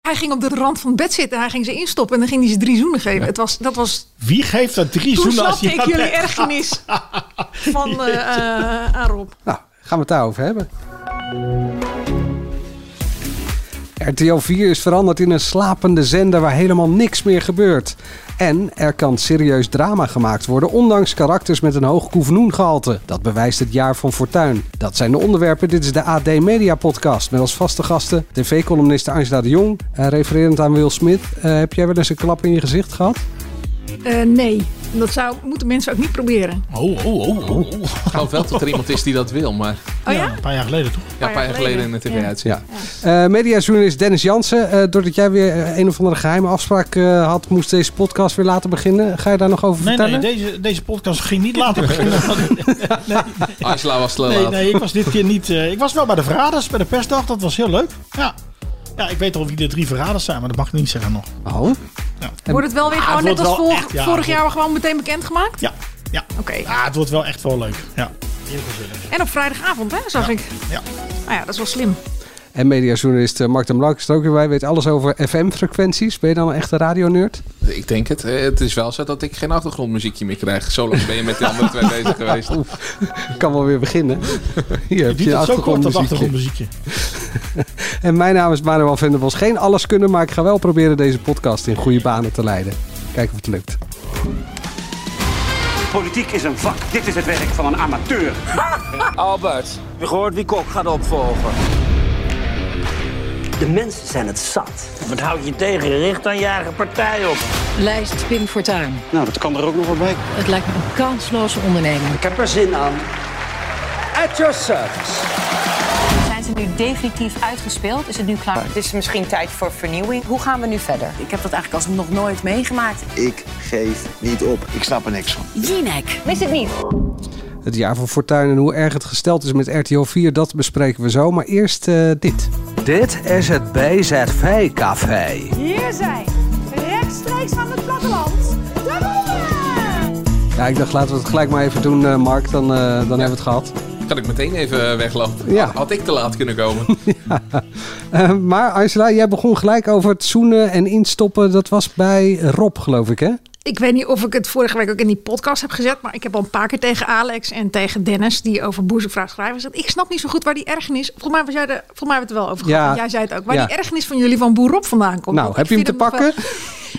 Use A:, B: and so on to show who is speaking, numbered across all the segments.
A: Hij ging op de rand van het bed zitten en hij ging ze instoppen en dan ging hij ze drie zoenen geven. Het was, dat was,
B: Wie geeft dat Ah. drie
A: toen
B: zoenen als
A: snapte
B: je
A: ik
B: aan
A: jullie
B: bed gaat?
A: ergernis van eh eh, aan Rob.
C: Nou, gaan we het daarover hebben. RTL 4 is veranderd in een slapende zender waar helemaal niks meer gebeurt. En er kan serieus drama gemaakt worden, ondanks karakters met een hoog koevenoengehalte. Dat bewijst het jaar van Fortuin. Dat zijn de onderwerpen. Dit is de AD Media Podcast met als vaste gasten tv-columniste Angela de Jong. Eh, refererend aan Will Smith, eh, heb jij wel eens een klap in je gezicht gehad?
A: Eh, nee, dat zou, moeten mensen ook niet proberen.
B: Oh, oh, oh, oh.
D: Ik geloof wel dat er iemand is die dat wil, maar
A: Oh ja?
B: Ja, een paar jaar geleden toch?
D: ja, een paar jaar geleden in de
A: Ja.
D: tv-uitzending.
C: Ja. Eh, mediajournalist Dennis Jansen, eh, doordat jij weer eh, een of andere geheime afspraak eh, had, moest deze podcast weer laten beginnen. Ga je daar nog over
B: Nee, nee,
C: vertellen?
B: deze, deze podcast ging niet later beginnen.
D: Angela was te
B: Nee,
D: laat.
B: nee, ik was dit keer niet. eh, ik was wel bij de verraders, bij de persdag. Dat was heel leuk. Ja. Ja, ik weet al wie de drie verraders zijn, maar dat mag ik niet zeggen nog.
C: Oh,
A: Wordt het wel weer gewoon
B: Ah, het
A: net
B: wordt
A: als
B: wel
A: vor-
B: echt, ja,
A: vorig
B: het
A: jaar gewoon meteen bekendgemaakt?
B: Ja, ja.
A: Oké.
B: Ah, het wordt wel echt wel leuk. Ja.
A: En op vrijdagavond, hè, zag ik.
B: ja.
A: Nou ja, dat is wel slim.
C: en mediajournalist eh, Mark de Blank is er ook weer bij. Weet alles over FM-frequenties. Ben je dan een echte radionerd?
D: Ik denk het. Eh, Het is wel zo dat ik geen achtergrondmuziekje meer krijg. Zo lang ben je met de andere twee bezig geweest.
C: Kan wel weer beginnen. Hier
B: Je
C: heb
B: doet
C: je
B: het zo kort, dat
C: achtergrondmuziekje.
B: achtergrondmuziekje.
C: En mijn naam is Manuel Venderbos. Geen alles kunnen, maar ik ga wel proberen deze podcast in goede banen te leiden. Kijken of het lukt.
E: Politiek is een vak. Dit is het werk van een amateur.
F: Albert, we gehoord wie Kok gaat opvolgen.
E: De mensen zijn het zat.
F: Wat houd je tegen? Richt dan je eigen partij op.
G: Lijst Pim Fortuyn.
E: Nou, dat kan er ook nog wel bij.
G: Het lijkt me een kansloze onderneming.
E: Ik heb er zin aan. At your service.
H: Zijn ze nu definitief uitgespeeld? Is het nu klaar?
G: Het is misschien tijd voor vernieuwing. Hoe gaan we nu verder?
H: Ik heb dat eigenlijk als nog nooit meegemaakt.
I: Ik geef niet op. Ik snap er niks van.
G: Jinek.
H: Mis het niet.
C: Het jaar van Fortuin en hoe erg het gesteld is met RTL 4, dat bespreken we zo. Maar eerst eh, dit.
I: Dit is het BZV-café.
H: Hier zijn, rechtstreeks van het platteland, de mannen!
C: Ja, ik dacht laten we het gelijk maar even doen, eh, Mark. Dan, eh, dan hebben we het gehad.
D: Kan ik meteen even eh, weglopen?
C: Ja.
D: Had, had ik te laat kunnen komen.
C: Eh, maar Angela, jij begon gelijk over het zoenen en instoppen. Dat was bij Rob, geloof ik, hè?
A: Ik weet niet of ik het vorige week ook in die podcast heb gezet. Maar ik heb al een paar keer tegen Alex en tegen Dennis. die over boezemvraag schrijven. gezegd. Ik snap niet zo goed waar die ergernis. Volgens mij, was jij er, volgens mij hebben we het er wel over gehad.
C: Ja.
A: want Jij zei het ook. Waar
C: Ja.
A: die ergernis van jullie van Boer Rob vandaan komt.
C: nou,
A: Want
C: heb
A: ik
C: je hem te
A: vind wel-
C: pakken?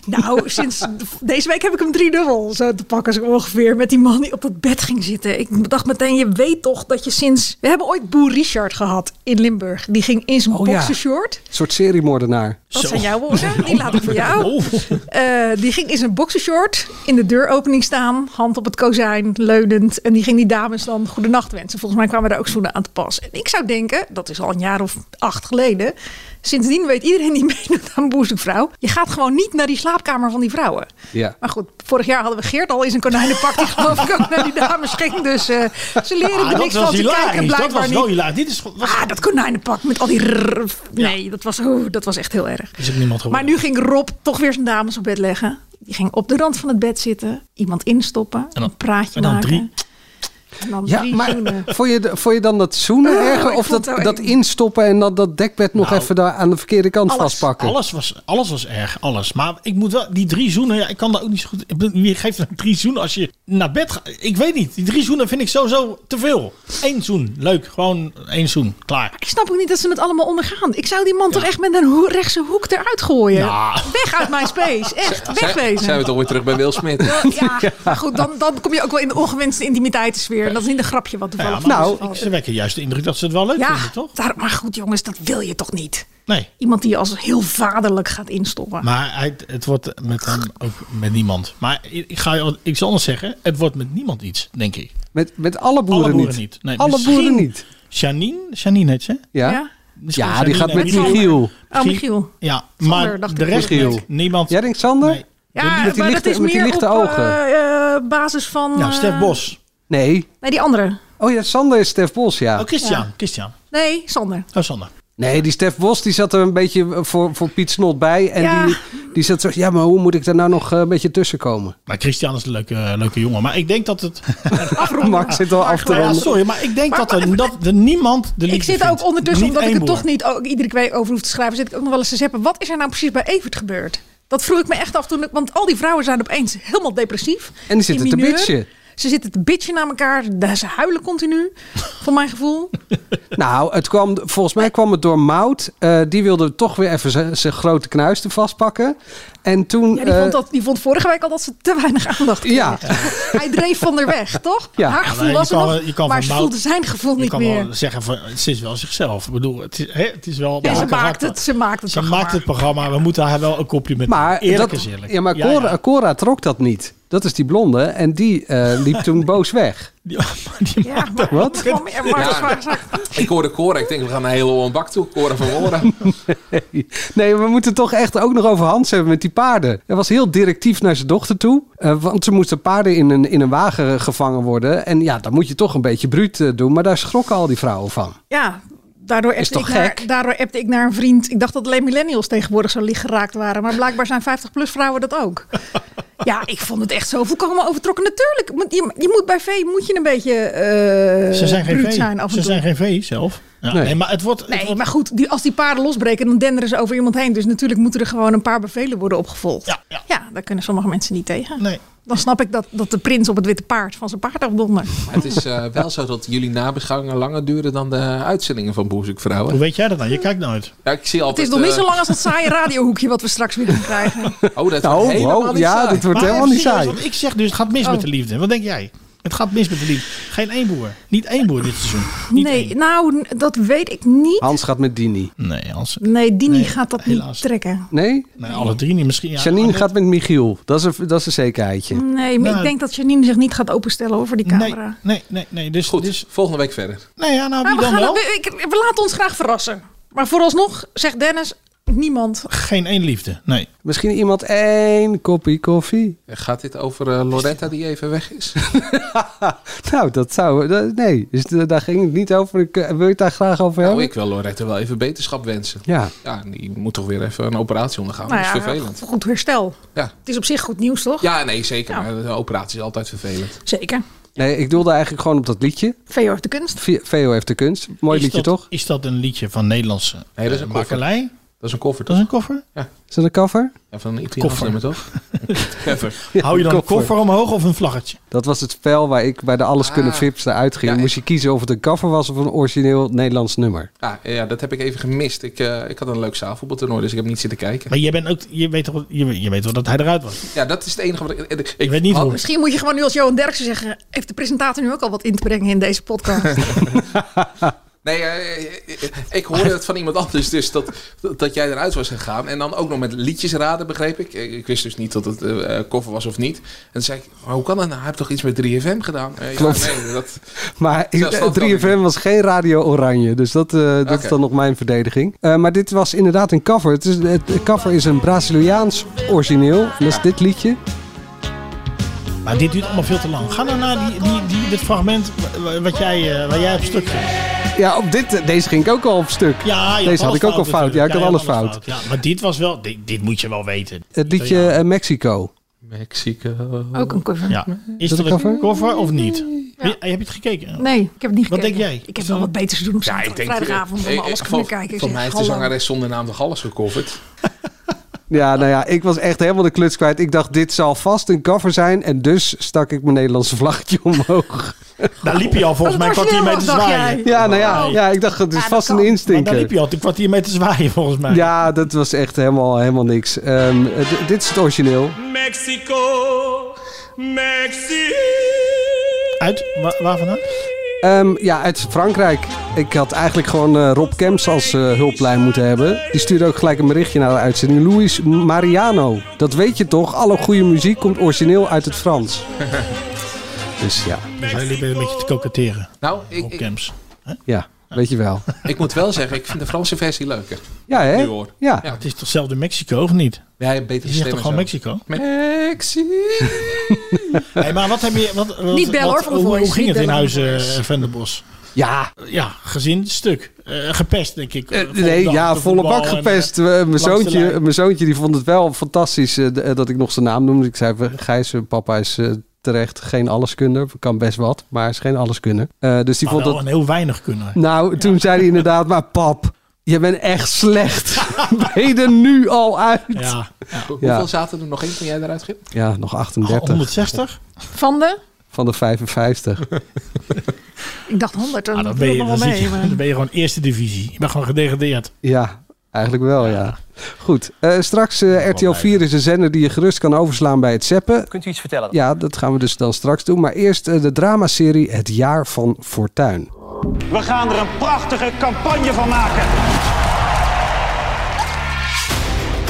A: Nou, sinds deze week heb ik hem driedubbel zo te pakken zo ongeveer. Met die man die op het bed ging zitten. Ik dacht meteen, je weet toch dat je sinds... We hebben ooit Boer Richard gehad in Limburg. Die ging in zijn
C: Oh ja.
A: boxershort.
C: Een soort seriemoordenaar.
A: Dat zijn jouw woorden. Die laat ik voor jou.
B: Oh,
A: Eh, die ging in zijn boxershort in de deuropening staan, hand op het kozijn, leunend. En die ging die dames dan goedenacht wensen. Volgens mij kwamen daar ook zoenen aan te pas. En ik zou denken, dat is al een jaar of acht geleden. Sindsdien weet iedereen die meedoet aan boezemvrouw. Je gaat gewoon niet naar die slaapkamer van die vrouwen.
C: Ja.
A: Maar goed, vorig jaar hadden we Geert al in zijn konijnenpak. Die geloof ik ook naar die dames ging. Dus eh, ze leren
B: ah,
A: er
B: dat
A: niks van
B: was
A: te kijken.
B: hilarisch. Dat
A: Blijkbaar
B: was wel
A: niet.
B: hilarisch. Dit is, was,
A: Ah, dat konijnenpak met al die... rrrr. Nee, dat, was, oh, dat was echt heel erg.
B: is er niemand geworden.
A: Maar nu ging Rob toch weer zijn dames op bed leggen. Die ging op de rand van het bed zitten, iemand instoppen,
B: dan-
A: een praatje
B: en dan
A: maken.
B: drie.
A: En dan
C: Ja,
A: drie
C: maar
A: zoenen.
C: vond je, de- vond je dan dat zoenen
A: Ah,
C: erger?
A: ik
C: Of dat,
A: vond het wel
C: dat
A: eng.
C: instoppen en dan dat dekbed nog even daar aan de verkeerde kant
A: alles.
C: vastpakken?
B: Nou, Alles was, alles was erg, alles. Maar ik moet wel, die drie zoenen, ja, ik kan daar ook niet zo goed. ik bedoel, Wie geeft nou drie zoenen als je naar bed gaat? Ik weet niet, die drie zoenen vind ik sowieso te veel. Eén zoen, leuk, gewoon één zoen, klaar.
A: Ik snap ook niet dat ze het allemaal ondergaan. Ik zou die man toch echt met een hoe- rechtse hoek eruit gooien.
B: Nou.
A: Weg uit mijn space. Echt,
D: Zijn,
A: wegwezen.
D: zijn we toch weer terug bij Will Smith?
A: ja, maar goed, dan, dan kom je ook wel in de ongewenste intimiteitssfeer. En dat is niet een grapje wat
B: Ja,
A: toevallig
B: maar
C: Nou,
B: ze- ze wekken juist de indruk dat ze het wel leuk
A: Ja,
B: vinden, toch?
A: daar, maar goed jongens, dat wil je toch niet?
B: Nee.
A: Iemand die je als heel vaderlijk gaat instoppen.
B: Maar hij, het wordt met hem ook met niemand. Maar ik ga je iets anders zeggen. Het wordt met niemand iets, denk ik.
C: Met, met alle boeren,
B: boeren
C: niet.
B: niet. Nee, dus
C: alle
B: misschien-
C: boeren niet.
B: Janine, Janine heet ze. hè?
C: Ja, ja,
A: Ja?
B: Misschien
C: die
B: Janine
C: gaat
B: en
C: met
B: Michiel.
C: Michiel.
A: Oh, Michiel.
B: Ja,
A: Sander,
B: maar
A: dacht
B: de
A: ik.
B: rest
C: Michiel.
B: niet. niemand.
C: Jij denkt Sander?
B: Nee.
A: Ja,
C: Met die
A: maar
C: lichte-
A: dat is
C: met die
A: meer
C: lichte
A: op
C: ogen.
A: eh, eh, basis van...
C: Nou,
A: eh,
C: Stef Bos. Nee.
A: Nee, die andere.
C: Oh ja, Sander is Stef Bos, ja.
B: Oh, Christian. Christian.
A: Nee, Sander.
B: Oh, Sander.
C: Nee, die Stef Bos die zat er een beetje voor, voor Piet Snot bij. En
A: Ja.
C: die, die zat zo, ja, maar hoe moet ik daar nou nog eh, een beetje tussen komen?
B: Maar Christian is een leuke, eh, leuke jongen. Maar ik denk dat het...
C: Max zit al af te
B: Ja,
C: ronden.
B: sorry, maar ik denk dat, er, dat er niemand de
A: Ik
B: liefde
A: zit
B: vindt.
A: ook ondertussen,
B: Niet
A: omdat ik
B: één
A: het toch
B: boer.
A: niet ook iedere week over hoef te schrijven, zit ik ook nog wel eens te zeppen. Wat is er nou precies bij Evert gebeurd? Dat vroeg ik me echt af toen ik, want al die vrouwen zijn opeens helemaal depressief.
C: En die zitten
A: in
C: te
A: mineur.
C: bitchen.
A: Ze zitten te bitchen naar elkaar. Daar- Ze huilen continu, voor mijn gevoel.
C: Nou, het kwam, volgens mij kwam het door Mout. Eh, die wilde toch weer even zijn grote knuisten vastpakken. En toen...
A: Ja, die,
C: eh,
A: vond dat, die vond vorige week al dat ze te weinig aandacht kreeg.
C: Ja.
A: Hij dreef van haar weg, toch?
C: Ja.
A: Haar
C: Ja,
A: gevoel
B: maar je
A: was er
B: kan-
A: nog,
B: je kan
A: maar
B: van
A: ze
B: Mout-
A: voelde zijn gevoel
B: Je
A: niet
B: kan
A: meer.
B: wel zeggen, van, het is wel zichzelf. Ik bedoel, het is, hè, het is wel...
A: Ja, ze
B: haar
A: maakt
B: karakter.
A: het, ze maakt het.
B: Ze maakt het programma. We moeten haar wel een compliment
C: Maar,
B: geven. Eerlijk
C: dat,
B: is eerlijk.
C: Ja, maar Cora, Cora trok dat niet. Dat is die blonde. En die eh, liep toen boos weg.
A: Ja, maar,
C: Wat?
A: maar- maar- maar-
D: Ja.
A: maar- maar-
D: Ik hoorde Cora. Ik denk, we gaan een hele oren bak toe. Cora van Oren.
C: Nee, we moeten toch echt ook nog over Hans hebben met die paarden. Hij was heel directief naar zijn dochter toe. eh, want ze moesten paarden in een, in een wagen gevangen worden. En ja, dan moet je toch een beetje bruut eh, doen. Maar daar schrokken al die vrouwen van.
A: Ja, daardoor appte,
C: toch
A: ik naar,
C: gek?
A: daardoor appte ik naar een vriend. Ik dacht dat alleen millennials tegenwoordig zo licht geraakt waren. Maar blijkbaar zijn 50-plus vrouwen dat ook. ja, ik vond het echt zo volkomen overtrokken. Natuurlijk, moet- je, je moet bij V moet je een beetje eh
B: Ze zijn geen
A: bruut
B: vee.
A: zijn af en
B: Ze
A: toe.
B: zijn geen vee zelf. Ja,
C: Nee.
B: nee. maar het wordt... het
A: Nee,
B: wordt-
A: maar goed, die, als die paarden losbreken, dan denderen ze over iemand heen. Dus natuurlijk moeten er gewoon een paar bevelen worden opgevolgd.
B: Ja, ja.
A: daar kunnen sommige mensen niet tegen.
B: Nee.
A: Dan snap ik dat, dat de prins op het witte paard van zijn paard afdondert.
D: Het is eh, wel zo dat jullie nabeschouwingen langer duren dan de uitzendingen van Boezekvrouwen.
B: Hoe weet jij dat nou? Je kijkt nooit.
D: Ja, ik zie
A: Het is
D: altijd...
A: nog niet
D: eh,
A: zo lang als dat saaie radiohoekje wat we straks weer gaan krijgen.
D: Oh, dat
C: Nou,
D: wordt helemaal
C: wow,
D: niet
C: ja,
D: saai.
C: dit wordt
B: Maar
C: helemaal
B: even
C: niet
B: serieus,
C: saai.
B: want ik zeg dus, het gaat mis
A: Oh.
B: met de liefde. Wat denk jij? Het gaat mis met de liefde. Geen één boer. Niet één boer dit seizoen. Niet
A: nee,
B: één.
A: nou, n- dat weet ik niet.
C: Hans gaat met Dini.
B: Nee, als,
A: Nee, Dini
B: Nee,
A: gaat dat
B: helaas.
A: niet trekken.
C: Nee?
B: nee, alle drie niet. Misschien, ja,
C: Janine
B: Annette-
C: gaat met Michiel. Dat is een, dat is een zekerheidje.
A: Nee, maar ik
B: Nou,
A: denk dat Janine zich niet gaat openstellen hoor, voor die
B: Nee,
A: camera.
B: nee, nee. nee. Dus,
D: Goed,
B: Dus,
D: volgende week verder.
B: nee, ja,
A: Nou,
B: nou, wie
A: we,
B: dan
A: gaan,
B: wel?
A: we, ik- we laten ons graag verrassen. Maar vooralsnog, zegt Dennis, niemand.
B: Geen één liefde. Nee.
C: Misschien iemand één kopje koffie.
D: Gaat dit over eh, Loretta die even weg is?
C: Nou, dat zou... dat- nee, dus da- daar ging het niet over. Ik, eh, Wil je het daar graag over hebben?
D: Nou, ik wil Loretta wel even beterschap wensen.
C: Ja.
D: Ja, die moet toch weer even een operatie ondergaan.
A: Nou
D: dat
A: ja,
D: is vervelend.
A: goed herstel.
D: Ja.
A: Het is op zich goed nieuws, toch?
D: ja, nee, zeker. Maar een operatie is altijd vervelend.
A: Zeker.
C: Nee, ik doelde eigenlijk gewoon op dat liedje.
A: Veo heeft de kunst.
C: V- VO heeft de kunst. Mooi
B: Is
C: liedje,
B: dat-
C: toch?
B: Is dat een liedje van Nederlandse
D: Nee, dat is
B: eh,
D: een koffer.
B: makelij?
D: Dat is een koffer,
B: Dat
D: toch?
B: is een koffer?
C: Is dat een cover?
D: Ja, van een Italiaans
B: Koffer.
D: nummer, toch? Koffer.
B: Hou je dan een koffer omhoog of een vlaggetje?
C: Dat was het spel waar ik bij de Alles Kunnen Vips naar uitging.
D: Ja,
C: Moest je kiezen of het een cover was of een origineel Nederlands nummer.
D: Ja, ja, dat heb ik even gemist. Ik, eh, ik had een leuk zaalvoetbaltoernooi, dus ik heb niet zitten kijken.
B: Maar je, bent ook, je, weet toch, wel- je, je weet wel dat hij eruit was.
D: Ja, dat is het enige wat ik... Ik,
B: Ik weet niet
D: had-
B: hoe.
A: Misschien moet je gewoon nu als Johan Derksen zeggen... heeft de presentator nu ook al wat in te brengen in deze podcast?
D: Nee, eh, eh, ik hoorde het van iemand anders, dus dat, dat jij eruit was gegaan. En dan ook nog met liedjes raden, begreep ik. Eh, Ik wist dus niet dat het eh, eh, koffer was of niet. En toen zei ik, maar hoe kan dat nou? Hij heeft toch iets met 3FM gedaan? Eh, ja,
C: Klopt.
D: nee, dat,
C: Maar
D: Ja, dat kan
C: 3FM was geen Radio Oranje. Dus dat, eh, dat
D: Oké.
C: is dan nog mijn verdediging. Eh, maar dit was inderdaad een cover. Het is, het, de cover is een Braziliaans origineel. En dat is dit liedje.
B: Maar dit duurt allemaal veel te lang. Ga nou naar die, die, die, dit fragment wa- wa- wat jij, eh, waar jij op stuk ging.
C: Ja, op dit, deze ging ik ook al op stuk.
B: Ja, je
C: deze had
B: alles
C: ik ook al fout. Ja, ik
B: natuurlijk.
C: had
B: je
C: alles
B: had
C: fout.
B: Ja, maar dit was wel... Dit, dit moet je wel weten.
C: Het liedje eh, Mexico.
D: Mexico.
A: ook een cover.
B: Ja. Is
C: dat
B: dat
C: een
B: een
C: cover?
B: koffer of niet? Wie- Heb je het gekeken?
A: Nee, ik heb het niet
B: Wat
A: gekeken.
B: denk jij?
A: Ik heb wel wat beters te doen op
D: Ja, ik
A: zaterdag-
D: denk...
A: vrijdagavond. om
D: eh, eh,
A: alles
D: van-
A: kunnen kijken. Ik
D: Van
A: zeg,
D: mij heeft de
A: hallo.
D: zangeres zonder naam toch alles gecoverd?
C: Ja, nou ja, ik was echt helemaal de kluts kwijt. Ik dacht, dit zal vast een cover zijn. En dus stak ik mijn Nederlandse vlaggetje omhoog.
B: Daar liep je al volgens mij een
A: Dat was
B: kwartier mee te
A: heel wat, dacht
B: zwaaien.
C: Ja, nou ja,
B: Oh.
C: ja ik dacht, het is
A: Ja, dat
C: vast
A: kan.
C: een
B: Maar daar
C: instinker.
B: liep je al een kwartier mee te zwaaien volgens mij.
C: Ja, dat was echt helemaal, helemaal niks. Ehm, eh, d- dit is het origineel.
J: Mexico, Mexico.
B: Uit? Wa- waar vandaan?
C: Ehm, ja, uit Frankrijk. Ik had eigenlijk gewoon eh, Rob Kemps als eh, hulplijn moeten hebben. Die stuurde ook gelijk een berichtje naar de uitzending. Luis Mariano. Dat weet je toch? Alle goede muziek komt origineel uit het Frans. Dus ja,
B: Dus hij liep een beetje te koketteren
D: Nou, ik,
B: op
D: ik,
B: camps.
C: ja. Weet je wel.
D: Ik moet wel zeggen, ik vind de Franse versie leuker.
C: Ja, hè?
D: Nu hoor.
C: Ja.
B: Het is toch zelfde Mexico, of niet?
D: Ja, beter
B: Je zegt toch gewoon Mexico?
D: Mexico.
B: Hey, maar wat heb je... Wat, wat-
A: Niet bellen,
B: wat-
A: hoor, van de
B: hoe,
A: Voice.
B: hoe ging
A: Niet
B: het in
A: bellen
B: huis
A: van de
B: eh,
A: Voice.
B: Van der Bos?
C: Ja.
B: Ja, gezin, stuk. Eh, gepest, denk ik.
C: Eh, nee, ja, volle bak gepest. Eh, Mijn zoontje, mijn zoontje die vond het wel fantastisch eh, d- eh, dat ik nog zijn naam noemde. Ik zei, we- Gijs, eh, papa is eh, terecht geen alleskunde. Kan best wat, maar is geen alleskunde. Eh, dus
B: Die
C: die vond
B: wel
C: dat...
B: een heel weinig kunnen.
C: Nou, toen zei hij inderdaad, maar pap, je bent echt slecht. ben je er nu al uit?
B: Ja,
D: Hoeveel zaten er nog in toen jij eruit ging?
C: Ja, nog 38
B: 160?
A: Van de?
C: van de 55.
A: Ik dacht 100.
B: Ah,
A: dat
B: dan, ben je,
A: nog
B: dan,
A: wel
B: zit
A: mee.
B: je,
A: maar-
B: dan ben je gewoon eerste divisie. Je bent gewoon gedegradeerd.
C: Ja, eigenlijk wel, ja. Goed, eh, straks eh, RTL 4 is een zender die je gerust kan overslaan bij het zeppen.
K: Kunt u iets vertellen?
C: Ja, dat gaan we dus dan straks doen. Maar eerst eh, de dramaserie Het Jaar van Fortuin.
K: We gaan er een prachtige campagne van maken.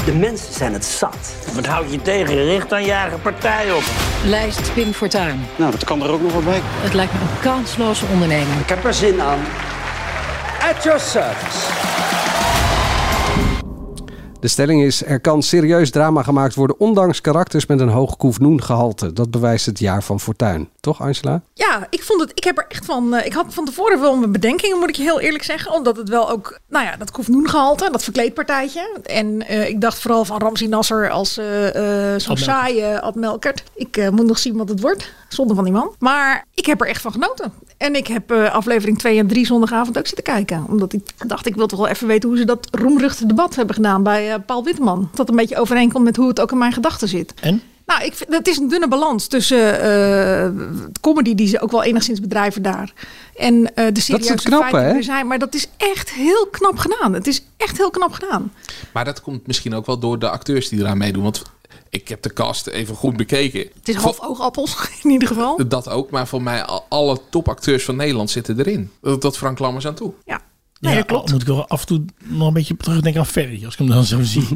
K: De mensen zijn het zat. Wat houd je tegen? Richt dan je eigen partij op.
G: Lijst Pim Fortuyn.
K: Nou, dat kan er ook nog wat bij.
G: Het lijkt me een kansloze onderneming.
E: Ik heb er zin aan. At your service.
C: De stelling is, er kan serieus drama gemaakt worden... ondanks karakters met een hoog koefnoengehalte. Dat bewijst Het Jaar van Fortuin. Toch, Angela?
A: Ja, ik vond het. Ik heb er echt van. eh, ik had van tevoren wel mijn bedenkingen, moet ik je heel eerlijk zeggen. Omdat het wel ook. Nou ja, dat koefnoengehalte, dat verkleedpartijtje. En eh, ik dacht vooral van Ramzi Nasser als eh, eh, zo'n
H: Ad Melkert.
A: saaie Ad Melkert. Ik eh, moet nog zien wat het wordt. Zonder van die man. Maar ik heb er echt van genoten. En ik heb eh, aflevering 2 en 3 zondagavond ook zitten kijken. Omdat ik dacht, ik wil toch wel even weten hoe ze dat roemruchte debat hebben gedaan bij eh, Paul Witteman. Dat een beetje overeenkomt met hoe het ook in mijn gedachten zit.
B: En?
A: Nou, ik vind, het is een dunne balans tussen eh comedy die ze ook wel enigszins bedrijven daar. En eh, de
C: het
A: serieuze
C: knappe,
A: feiten die
C: hè?
A: er zijn. Maar dat is echt heel knap gedaan. Het is echt heel knap gedaan.
D: Maar dat komt misschien ook wel door de acteurs die eraan meedoen. Want ik heb de cast even goed bekeken.
A: Het is half oogappels in ieder geval.
D: Dat ook, maar voor mij al- alle topacteurs van Nederland zitten erin. Tot tot Frank Lammers aan toe.
A: Ja.
B: Nee, dat klopt. Moet ik wel af en toe nog een beetje terugdenken aan Ferry, als ik hem dan zo zie.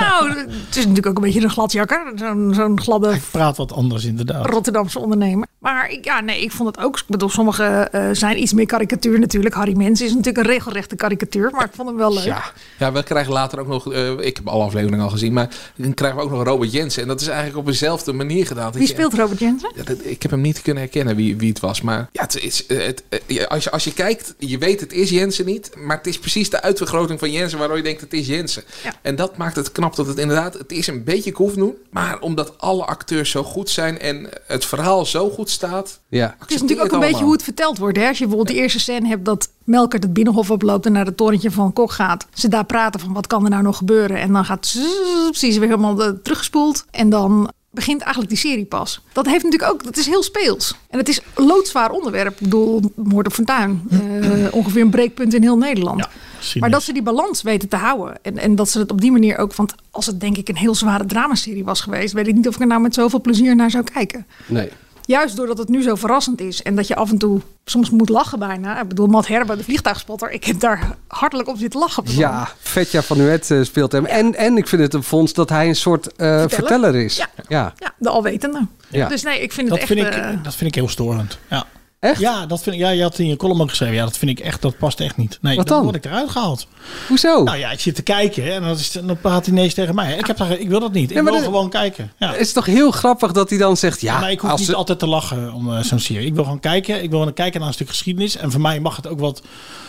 A: Nou, het is natuurlijk ook een beetje een gladjakker. Zo'n zo'n gladde
B: Praat wat anders inderdaad.
A: Rotterdamse ondernemer. Maar ik, ja, nee, ik vond het ook. Ik bedoel, sommige eh, zijn iets meer karikatuur natuurlijk. Harry Mens is natuurlijk een regelrechte karikatuur. Maar ik vond hem wel leuk.
D: Ja. ja, we krijgen later ook nog, eh, ik heb alle afleveringen al gezien, maar dan krijgen we ook nog Robert Jensen. En dat is eigenlijk op dezelfde manier gedaan. Dat
A: Wie
D: je-
A: speelt Robert Jensen?
D: Ja, dat- ik heb hem niet kunnen herkennen wie, wie het was. Maar ja, het is, eh, het, eh, ja, als, je, als je kijkt, je weet het is Jensen niet. Maar het is precies de uitvergroting van Jensen waardoor je denkt het is Jensen. En dat maakt het knap dat het inderdaad, het is een beetje koefnoen. Maar omdat alle acteurs zo goed zijn en het verhaal zo goed staat.
C: Ja.
A: Het is natuurlijk ook een beetje hoe het verteld wordt. Hè? Als je bijvoorbeeld die eerste scène hebt dat Melkert het binnenhof oploopt en naar het torentje van Kok gaat. Ze daar praten van wat kan er nou nog gebeuren. En dan gaat zzzz, precies weer helemaal eh, teruggespoeld. En dan begint eigenlijk die serie pas. Dat heeft natuurlijk ook, dat is heel speels. En het is een loodzwaar onderwerp. Ik bedoel, moord op Fortuin. Eh, ongeveer een breekpunt in heel Nederland. maar dat ze die balans weten te houden. En, en dat ze het op die manier ook, want als het denk ik een heel zware dramaserie was geweest, weet ik niet of ik er nou met zoveel plezier naar zou kijken.
C: Nee.
A: Juist doordat het nu zo verrassend is en dat je af en toe soms moet lachen bijna. Ik bedoel, Matt Herber, de vliegtuigspotter, ik heb daar hartelijk op zitten lachen.
C: Ja, Vetja van Nuet eh, speelt hem. En, en ik vind het een fonds dat hij een soort eh, verteller is.
A: Ja.
C: ja.
A: Ja, de alwetende.
C: Ja.
A: Dus nee, ik vind
B: dat,
A: het
B: vind
A: echt...
B: ik,
A: eh,
B: dat vind ik heel storend. Ja. Echt? Ja, dat vind ik, ja, je had in je column ook geschreven. Ja, dat vind ik echt, dat past echt niet. Nee,
C: Wat
B: dan?
C: dan?
B: word ik eruit gehaald.
C: Hoezo?
B: Nou ja, ik zit te kijken hè, en dan, is, dan praat hij ineens tegen mij. Ik, heb, daar- ik wil dat niet. Ik
C: Ja, maar
B: wil
C: dat-
B: gewoon kijken. Ja.
C: Het is toch heel grappig dat hij dan zegt... Ja,
B: maar ik hoef
C: als
B: niet
C: ze-
B: altijd te lachen om eh, zo'n serie. Ik wil gewoon kijken. Ik wil gewoon kijken naar een stuk geschiedenis. En voor mij mag het ook wat,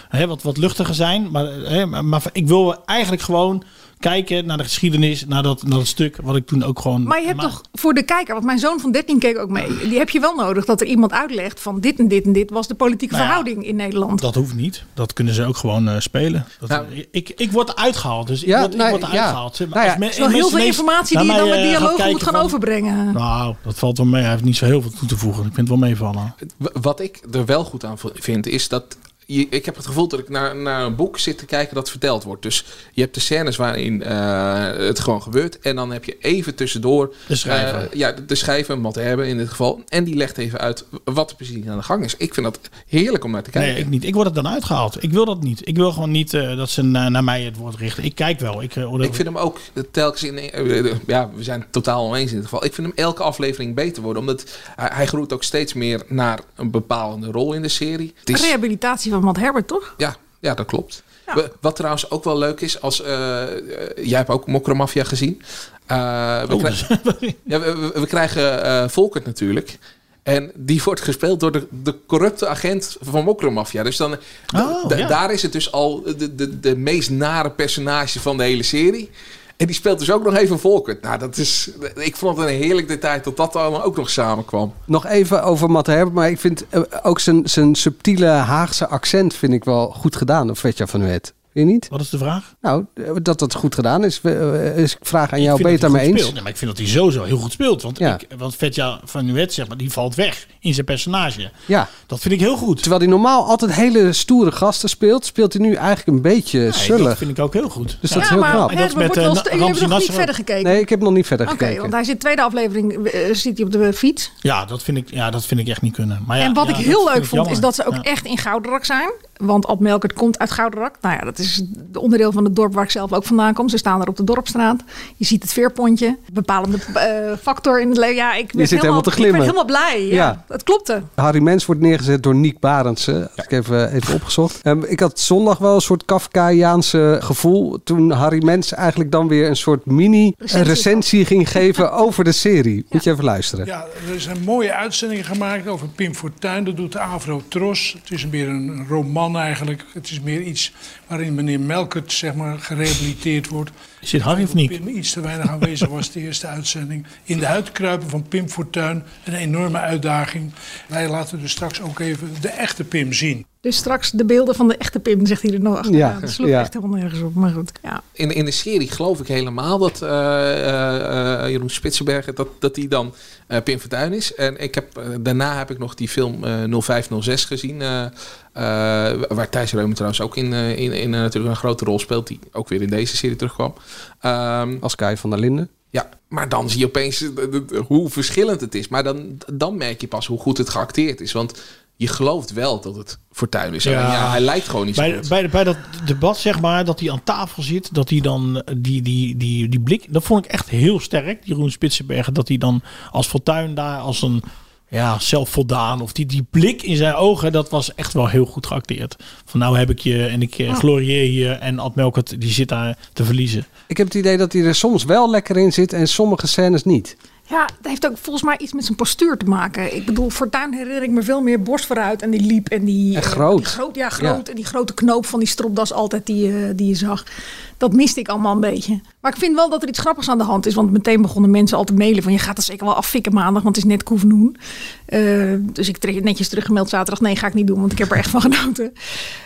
B: hè, wat, wat luchtiger zijn. Maar, eh, hè, maar, maar ik wil eigenlijk gewoon kijken naar de geschiedenis. Naar dat, naar dat stuk wat ik toen ook gewoon...
A: Maar je hebt toch voor de kijker, want mijn zoon van 13 keek ook mee. Die heb je wel nodig dat er iemand uitlegt van dit en dit en dit was de politieke
B: Nou ja.
A: verhouding in Nederland.
B: Dat hoeft niet. Dat kunnen ze ook gewoon eh, spelen. Dat, ik, ik word uitgehaald. Dus ik
A: Nou- Ja,
B: word, ik
A: nou,
B: word
A: ja.
B: uitgehaald. Zeg maar,
A: Nou ja,
B: als men-
A: Er is wel heel
B: mensen
A: veel
B: ineens
A: informatie
B: naar
A: die je dan
B: mij,
A: met
B: eh,
A: dialogen
B: kijken
A: moet gaan
B: van-
A: overbrengen.
B: Nou, dat valt wel mee. Hij heeft niet zo heel veel toe te voegen. Ik vind het wel meevallen.
D: W- Wat ik er wel goed aan v- vind, is dat. je- ik heb het gevoel dat ik naar, naar een boek zit te kijken dat verteld wordt. Dus je hebt de scènes waarin eh, het gewoon gebeurt. En dan heb je even tussendoor.
B: De schrijver.
D: eh, ja, de, de schrijver, Matt Herbe in dit geval. En die legt even uit wat er precies aan de gang is. Ik vind dat heerlijk om naar te kijken.
B: Nee, ik niet. Ik word het dan uitgehaald. Ik wil dat niet. Ik wil gewoon niet eh, dat ze na- naar mij het woord richten. Ik kijk wel. Ik, eh, oordeel-
D: Ik vind hem ook telkens in. eh, Ja, we zijn het totaal oneens in dit geval. Ik vind hem elke aflevering beter worden. Omdat hij, hij groeit ook steeds meer naar een bepalende rol in de serie. Het is-
A: Rehabilitatie van van Matt Herbert, toch?
D: Ja, ja dat klopt. We- Wat trouwens ook wel leuk is, als, eh, eh, jij hebt ook Mokromafia gezien. Eh, we, krijgen, ja, we, we- we krijgen eh Volkert natuurlijk. En die wordt gespeeld door de, de corrupte agent van Mokromafia. Dus dan, da-
B: ja.
D: daar is het dus al de, de, de meest nare personage van de hele serie. En die speelt dus ook nog even Volkert. Nou, dat is, ik vond het een heerlijk detail dat dat allemaal ook nog samenkwam.
C: Nog even over Matt Herbert, maar ik vind eh, ook zijn, zijn subtiele Haagse accent vind ik wel goed gedaan, of Vetja van Wet. Vind je niet?
B: Wat is de vraag?
C: Nou, eh, dat dat goed gedaan is. We- eh, is ik vraag aan jou,
B: Ik
C: ben je
B: vind dat hij
C: het daarmee
B: goed
C: eens?
B: speelt. Nee, maar ik vind dat hij sowieso heel goed speelt. Want,
C: Ja.
B: ik, want Vetja van Nuet, zeg maar, die valt weg in zijn personage.
C: Ja.
B: Dat vind ik heel goed.
C: Terwijl hij normaal altijd hele stoere gasten speelt, speelt hij nu eigenlijk een beetje
B: Nee,
C: zullig.
B: dat vind ik ook heel goed.
C: Dus dat is heel knap.
A: hè, we moeten wel st- jullie hebben nog niet verder gekeken.
C: Nee, ik heb nog niet verder
A: Oké,
C: gekeken.
A: want hij zit tweede aflevering, eh, zit hij op de fiets.
B: Ja, dat vind ik, ja, dat vind ik echt niet kunnen. Maar ja,
A: en wat
B: ja,
A: ik
B: dat
A: heel
B: vind
A: leuk
B: ik
A: vond,
B: jammer.
A: is dat ze ook
B: Ja.
A: echt in Goudenrak zijn. Want Ad Melkert komt uit Goudenrak. Nou ja, dat is het onderdeel van het dorp waar ik zelf ook vandaan kom. Ze staan daar op de dorpstraat. Je ziet het veerpontje. Bepalende eh, factor in het leven. Ja, ik ben,
C: zit helemaal te
A: Ik ben
C: glimmen.
A: helemaal blij. Ja,
C: Ja.
A: Het klopte.
C: Harry Mens wordt neergezet door Niek Barendse. Had ik even, even opgezocht. Ehm, ik had zondag wel een soort Kafkaiaanse gevoel. Toen Harry Mens eigenlijk dan weer een soort mini-recensie
L: Recensie.
C: ging geven over de serie. Moet je even luisteren.
L: Ja, er zijn mooie uitzendingen gemaakt over Pim Fortuyn. Dat doet de Avro Tros. Het is meer een roman eigenlijk. Het is meer iets waarin meneer Melkert zeg maar, gerehabiliteerd wordt.
B: Zit Harry of niet?
L: Pim iets te weinig aanwezig was, de eerste uitzending. In de huid kruipen van Pim Fortuyn. Een enorme uitdaging. Wij laten dus straks ook even de echte Pim zien.
A: Dus straks de beelden van de echte Pim, zegt hij er nog achteraan.
D: Ja,
A: Ja, dat sloeg
D: ja.
A: echt helemaal nergens op. Maar goed, ja.
D: In, in de serie geloof ik helemaal dat eh, eh, eh, Jeroen Spitsenberger, dat, dat die dan eh, Pim Fortuyn is. En ik heb, eh, daarna heb ik nog die film eh, 0506 gezien, eh, eh, waar Thijs Reumer trouwens ook in, eh, in, in eh, natuurlijk een grote rol speelt, die ook weer in deze serie terugkwam. Ehm,
C: Als Kai van der Linden.
D: Ja, maar dan zie je opeens eh, d- d- hoe verschillend het is. Maar dan, dan merk je pas hoe goed het geacteerd is, want je gelooft wel dat het Fortuyn is. Ja. ja, hij lijkt gewoon niet zo
B: bij,
D: goed.
B: Bij, bij dat debat, zeg maar, dat hij aan tafel zit, dat hij dan eh, die, die, die, die blik, dat vond ik echt heel sterk, die Jeroen Spitsenberger, dat hij dan als Fortuin daar als een ja, zelfvoldaan, of die, die blik in zijn ogen, dat was echt wel heel goed geacteerd. Van nou heb ik je en ik eh, glorieer je en Ad Melkert, die zit daar te verliezen.
C: Ik heb het idee dat hij er soms wel lekker in zit en sommige scènes niet.
A: Ja, dat heeft ook volgens mij iets met zijn postuur te maken. Ik bedoel, Fortuin herinner ik me veel meer borst vooruit en die liep en die...
C: En groot.
A: die groot ja, groot.
C: Ja.
A: En die grote knoop van die stropdas altijd die, eh, die je zag. Dat miste ik allemaal een beetje. Maar ik vind wel dat er iets grappigs aan de hand is. Want meteen begonnen mensen al te mailen van... je gaat dat zeker wel affikken maandag, want het is net Koevenoen. Eh, dus ik kreeg netjes teruggemeld zaterdag. Nee, ga ik niet doen, want ik heb er echt van genoten.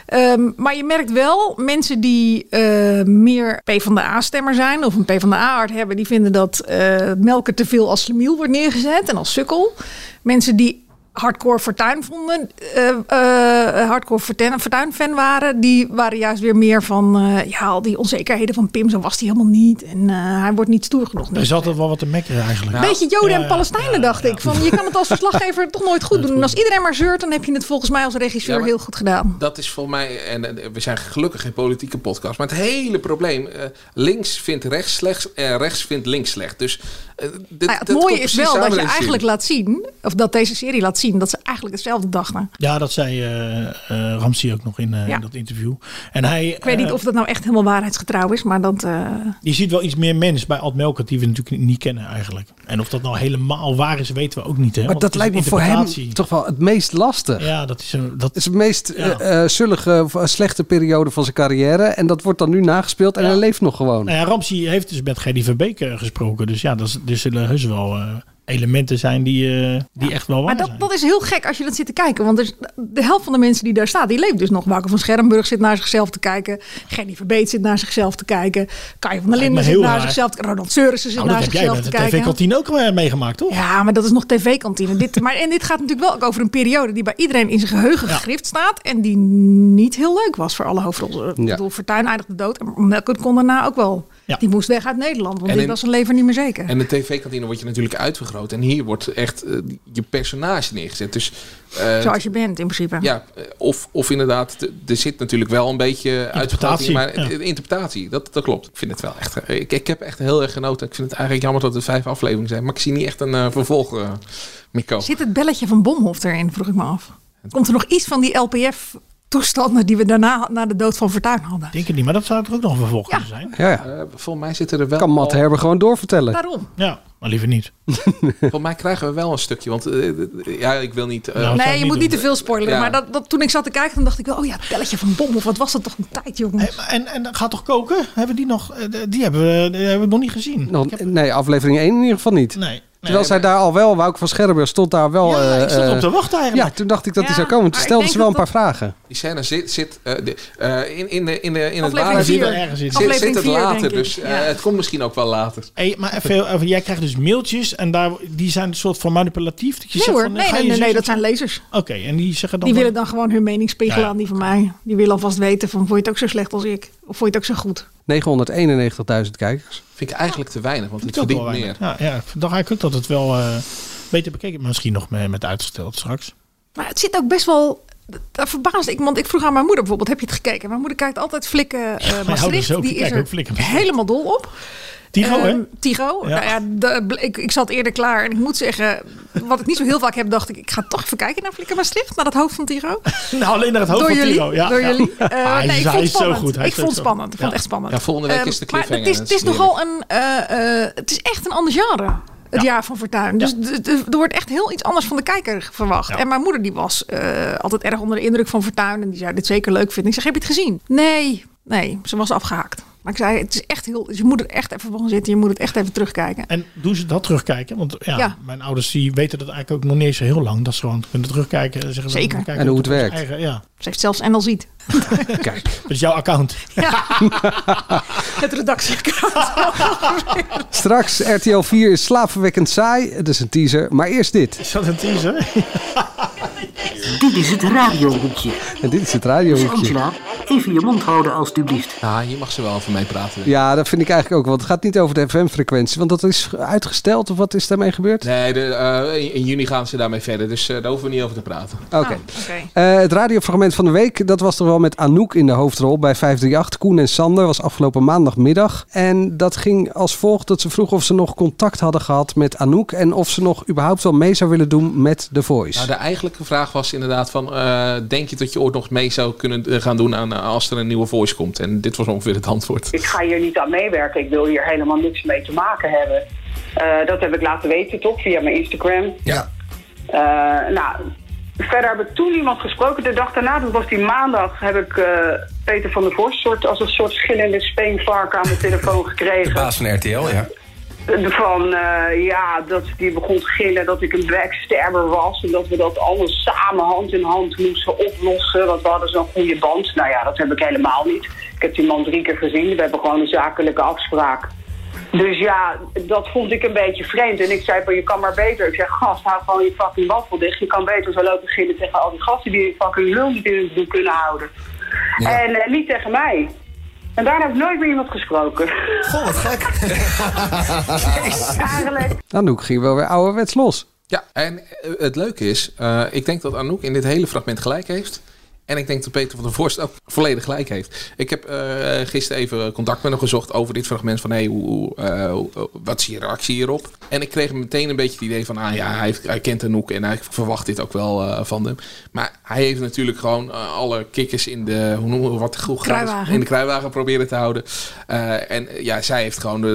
A: Ehm, maar je merkt wel, mensen die eh meer PvdA-stemmer zijn... of een PvdA-art hebben, die vinden dat eh Melker te veel als slemiel wordt neergezet... en als sukkel. Mensen die hardcore Fortuin vonden, eh, eh, hardcore Fortuin, fan waren, die waren juist weer meer van eh, ja, al die onzekerheden van Pim, zo was hij helemaal niet en eh, hij wordt niet stoer genoeg.
D: Dus-
B: Er zat er wel wat te mekkeren eigenlijk.
A: Een beetje Joden en
B: Ja, ja.
A: Palestijnen, dacht ik. Van, je kan het als verslaggever toch nooit goed doen. En als iedereen maar zeurt, dan heb je het volgens mij als regisseur
D: Ja, maar-
A: heel goed gedaan.
D: Dat is voor mij, en eh, we zijn gelukkig geen politieke podcast, maar het hele probleem, eh, links vindt rechts slecht en rechts vindt links slecht. Dus eh, dit-
A: Nou ja,
D: dat
A: het
D: komt
A: mooie is
D: precies
A: wel
D: samen
A: dat je
D: in de serie.
A: eigenlijk laat zien, of dat deze serie laat zien, dat ze eigenlijk hetzelfde dachten.
B: Ja, dat zei eh, eh, Ramsey ook nog in, eh,
A: Ja.
B: in dat interview. En hij,
A: Ik weet niet of dat nou echt helemaal waarheidsgetrouw is, maar dat... eh,
B: Je ziet wel iets meer mens bij Ad Melkert die we natuurlijk niet kennen eigenlijk. En of dat nou helemaal waar is, weten we ook niet. Hè?
C: Maar
B: Want het
C: dat
B: is
C: lijkt me
B: een
C: voor hem
B: interpretatie.
C: toch wel het meest lastig.
B: Ja, dat is een... Dat...
C: Het is de meest eh, eh, zullige, of, eh, slechte periode van zijn carrière. En dat wordt dan nu nagespeeld en hij leeft nog gewoon.
B: Nou ja, Ramsey heeft dus met Gerdy Verbeek eh, gesproken. Dus ja, dat is, er zullen heus wel eh, elementen zijn die, eh, die echt wel waar
A: Maar dat, dus
B: zijn. Oh,
A: dat is heel gek als je dat zit te kijken. Want er is- de helft van de mensen die daar staat, die leeft dus nog. Wouter van Schermburg zit naar zichzelf te kijken. Gerdy Verbeet zit naar zichzelf te kijken. Kai van der
B: Lijkt me
A: Linden zit
B: heel
A: naar
B: raar.
A: zichzelf te kijken. Ronald Seurissen zit
B: Nou, dat
A: naar
B: heb jij
A: zichzelf
B: met
A: te
B: de
A: kijken.
B: TV-kantine ook eh, meegemaakt, toch?
A: Ja, maar dat is nog tv-kantine. Dit, maar, en dit gaat natuurlijk wel ook over een periode die bij iedereen in zijn geheugen gegrift staat. En die niet heel leuk was voor alle hoofdrollen. Ik
D: Ja.
A: bedoel, Fortuyn eindigde dood. En Melkert kon daarna ook wel. Die moest weg uit Nederland, want
D: En
A: dit
D: in-
A: was zijn leven niet meer zeker.
D: En de tv-kantine wordt je natuurlijk uitvergroot. En hier wordt echt eh, je personage neergezet. Dus, eh,
A: Zoals je bent, in principe.
D: ja, eh, of, of inderdaad, d- er zit natuurlijk wel een beetje uitvergroting. Maar
A: ja.
D: de interpretatie, dat, dat klopt. Ik vind het wel echt... eh, Ik, ik heb echt heel erg genoten. Ik vind het eigenlijk jammer dat er vijf afleveringen zijn. Maar ik zie niet echt een eh, vervolg eh meer komen.
A: Zit het belletje van Bomhof erin, vroeg ik me af. Komt er nog iets van die LPF toestanden die we daarna na de dood van Fortuyn hadden.
B: Denk het niet, maar dat zou er ook nog een vervolg kunnen zijn.
C: Ja, ja.
D: Eh, volgens mij zitten er wel...
C: Kan Matt
D: al-
C: Herber gewoon doorvertellen.
A: Daarom.
B: Ja, maar liever niet.
D: Volgens mij krijgen we wel een stukje. Want eh, eh, ja, ik wil niet... eh,
A: nee, je moet niet te veel spoileren.
D: Ja.
A: Maar dat, dat, toen ik zat te kijken, dan dacht ik wel, oh ja, telletje van bom. Of wat was dat toch een tijd, jongens.
B: En, en dan gaat toch koken? Hebben die nog? eh, Die hebben we, die hebben we nog niet gezien.
C: Nog- nee, aflevering 1 in ieder geval niet.
B: Nee.
C: Nou. Terwijl zij daar al wel, Wouk van Scherber stond daar wel...
B: Ja, ik stond
C: eh,
B: op te wachten eigenlijk.
C: Ja, toen dacht ik dat hij
A: Ja,
C: zou komen. Toen
A: maar ik
C: stelden
A: denk
C: ze wel een
A: dat
C: paar vragen.
D: Die scène zit, zit eh, de- eh, in, in, de- in, de- in het
A: Aflevering
D: water.
B: vier.
D: zit-
B: Ergens in.
D: zit- Zit,
A: Aflevering
D: het
A: vier,
D: later,
A: denk ik.
D: dus eh,
A: Ja.
D: het komt misschien ook wel later.
B: Hey, maar even, over- jij krijgt dus mailtjes en daar, die zijn een soort van manipulatief. Dat je
A: Nee
B: zegt
A: hoor,
B: van, eh,
A: nee,
B: ga
A: nee,
B: je
A: nee,
B: zus-
A: nee, dat zijn lezers.
B: Oké, en die zeggen dan...
A: Die willen dan gewoon hun mening spiegelen
B: Ja.
A: aan die van mij. Die willen alvast weten van, vond je het ook zo slecht als ik? Of vond je het ook zo goed?
C: 991.000 kijkers.
D: Vind ik eigenlijk te weinig, want het
B: Ook wel
D: verdient meer.
B: weinig. Ja, ja, dan ga ik ook dat het wel eh, beter bekeken maar Misschien nog met, met uitgesteld straks.
A: Maar het zit ook best wel... Daar verbaasde ik, want ik vroeg aan mijn moeder bijvoorbeeld, heb je het gekeken? Mijn moeder kijkt altijd flikken eh
B: ouders
A: Maastricht.
B: ook,
A: die
B: die
A: is
B: kijken
A: er
B: ook Flikken Maastricht.
A: helemaal dol op.
B: Tigo, hè?
A: Ehm, Tigo.
B: Ja.
A: Nou ja, de- bl- ik, ik zat eerder klaar. En ik moet zeggen, wat ik niet zo heel vaak heb, dacht ik... ik ga toch even kijken naar Flikker Maastricht, naar dat hoofd van Tigo.
B: Nou, alleen naar het hoofd
A: door
B: van
A: jullie.
B: Tiro. Ja,
A: door
B: ja.
A: jullie. Eh,
B: Hij is-
A: nee, ik
B: hij
A: vond het
B: is zo
A: spannend.
B: goed, hij
A: ik
B: is
A: vond het
B: zo-
A: spannend. Ik vond
B: Ja.
A: het echt spannend.
D: Ja, volgende week
A: Ehm,
D: is de
A: Maar het
D: cliffhanger.
A: is,
D: dat
A: het is
D: heerlijk.
A: nogal een... eh, eh, het is echt een ander genre. Het jaar van Fortuin. Dus d- d- er wordt echt heel iets anders van de kijker verwacht.
B: Ja.
A: En mijn moeder die was eh, altijd erg onder de indruk van Fortuin. En die zei dit zeker leuk vinden. Ik zeg, heb je het gezien? Nee, nee. Ze was afgehaakt. Maar ik zei, het is echt heel... Je moet er echt even van zitten. Je moet het echt even terugkijken.
B: En doen ze dat terugkijken? Want ja,
A: Ja.
B: mijn ouders die weten dat eigenlijk ook nog niet eens zo heel lang. Dat ze gewoon kunnen terugkijken. en Zeggen, we
A: Zeker.
B: kijken
C: En hoe het
B: op ons
C: werkt.
B: eigen- ja.
A: Ze heeft zelfs en al ziet.
C: Kijk,
B: Dat is jouw account.
A: Het redactieaccount.
C: straks RTL 4 is slaapverwekkend saai. Het is een teaser, maar eerst dit.
B: Is dat een teaser?
M: Dit is het radiohoekje.
C: En dit is het radiohoekje.
M: Angela, even je mond houden alstublieft.
D: Ja, hier mag ze wel even mee praten. denk ik.
C: Ja, dat vind ik eigenlijk ook. Want het gaat niet over de FM-frequentie. Want dat is uitgesteld of wat is daarmee gebeurd?
D: Nee, de, eh, in- in juni gaan ze daarmee verder, dus eh, daar hoeven we niet over te praten.
C: Oké.
A: Nou.
C: Eh, het radiofragment van de week, dat was toch wel met Anouk in de hoofdrol bij 538. Koen en Sander was afgelopen maandagmiddag. En dat ging als volgt dat ze vroeg of ze nog contact hadden gehad met Anouk. En of ze nog überhaupt wel mee zou willen doen met The Voice.
D: Nou, de eigenlijke vraag was inderdaad van, eh, denk je dat je ooit nog mee zou kunnen eh, gaan doen aan, eh, als er een nieuwe voice komt? En dit was ongeveer het antwoord.
N: Ik ga hier niet aan meewerken. Ik wil hier helemaal niks mee te maken hebben. Eh, dat heb ik laten weten, toch? Via mijn Instagram.
D: Ja.
N: Eh, nou, verder heb ik toen niemand gesproken. De dag daarna, dat was die maandag, heb ik eh, Peter van der Vorst soort, als een soort schillende speenvarken aan mijn telefoon gekregen.
O: Baas van RTL, ja.
N: Van eh, ja, dat die begon te gillen dat ik een backstabber was. En dat we dat alles samen hand in hand moesten oplossen. Want we hadden zo'n goede band. Nou ja, dat heb ik helemaal niet. Ik heb die man drie keer gezien. We hebben gewoon een zakelijke afspraak. Dus ja, dat vond ik een beetje vreemd. En ik zei van, je kan maar beter. Ik zeg, gast, hou gewoon je fucking waffel dicht. Je kan beter zo lopen gillen tegen al die gasten die je fucking lul niet in het doel kunnen houden. En eh, niet tegen mij. En daarna heb ik nooit meer iemand gesproken.
O: Goh, wat gek.
N: Eigenlijk.
C: Anouk ging wel weer ouderwets los.
D: Ja, en eh, het leuke is, eh, ik denk dat Anouk in dit hele fragment gelijk heeft. En ik denk dat Peter van der Vorst ook volledig gelijk heeft. Ik heb eh, gisteren even contact met hem gezocht over dit fragment. Van hey, hoe, hoe, eh, hoe- hoe- wat is je reactie hierop? En ik kreeg meteen een beetje het idee van... Ah ja, hij, heeft, hij kent Anouk en hij verwacht dit ook wel eh, van hem. Maar hij heeft natuurlijk gewoon eh, alle kikkers in de... Hoe noemen we wat? Hoe gaat het?
A: Kruiwagen.
D: In de kruiwagen proberen te houden. Eh, en eh, ja, zij heeft gewoon de,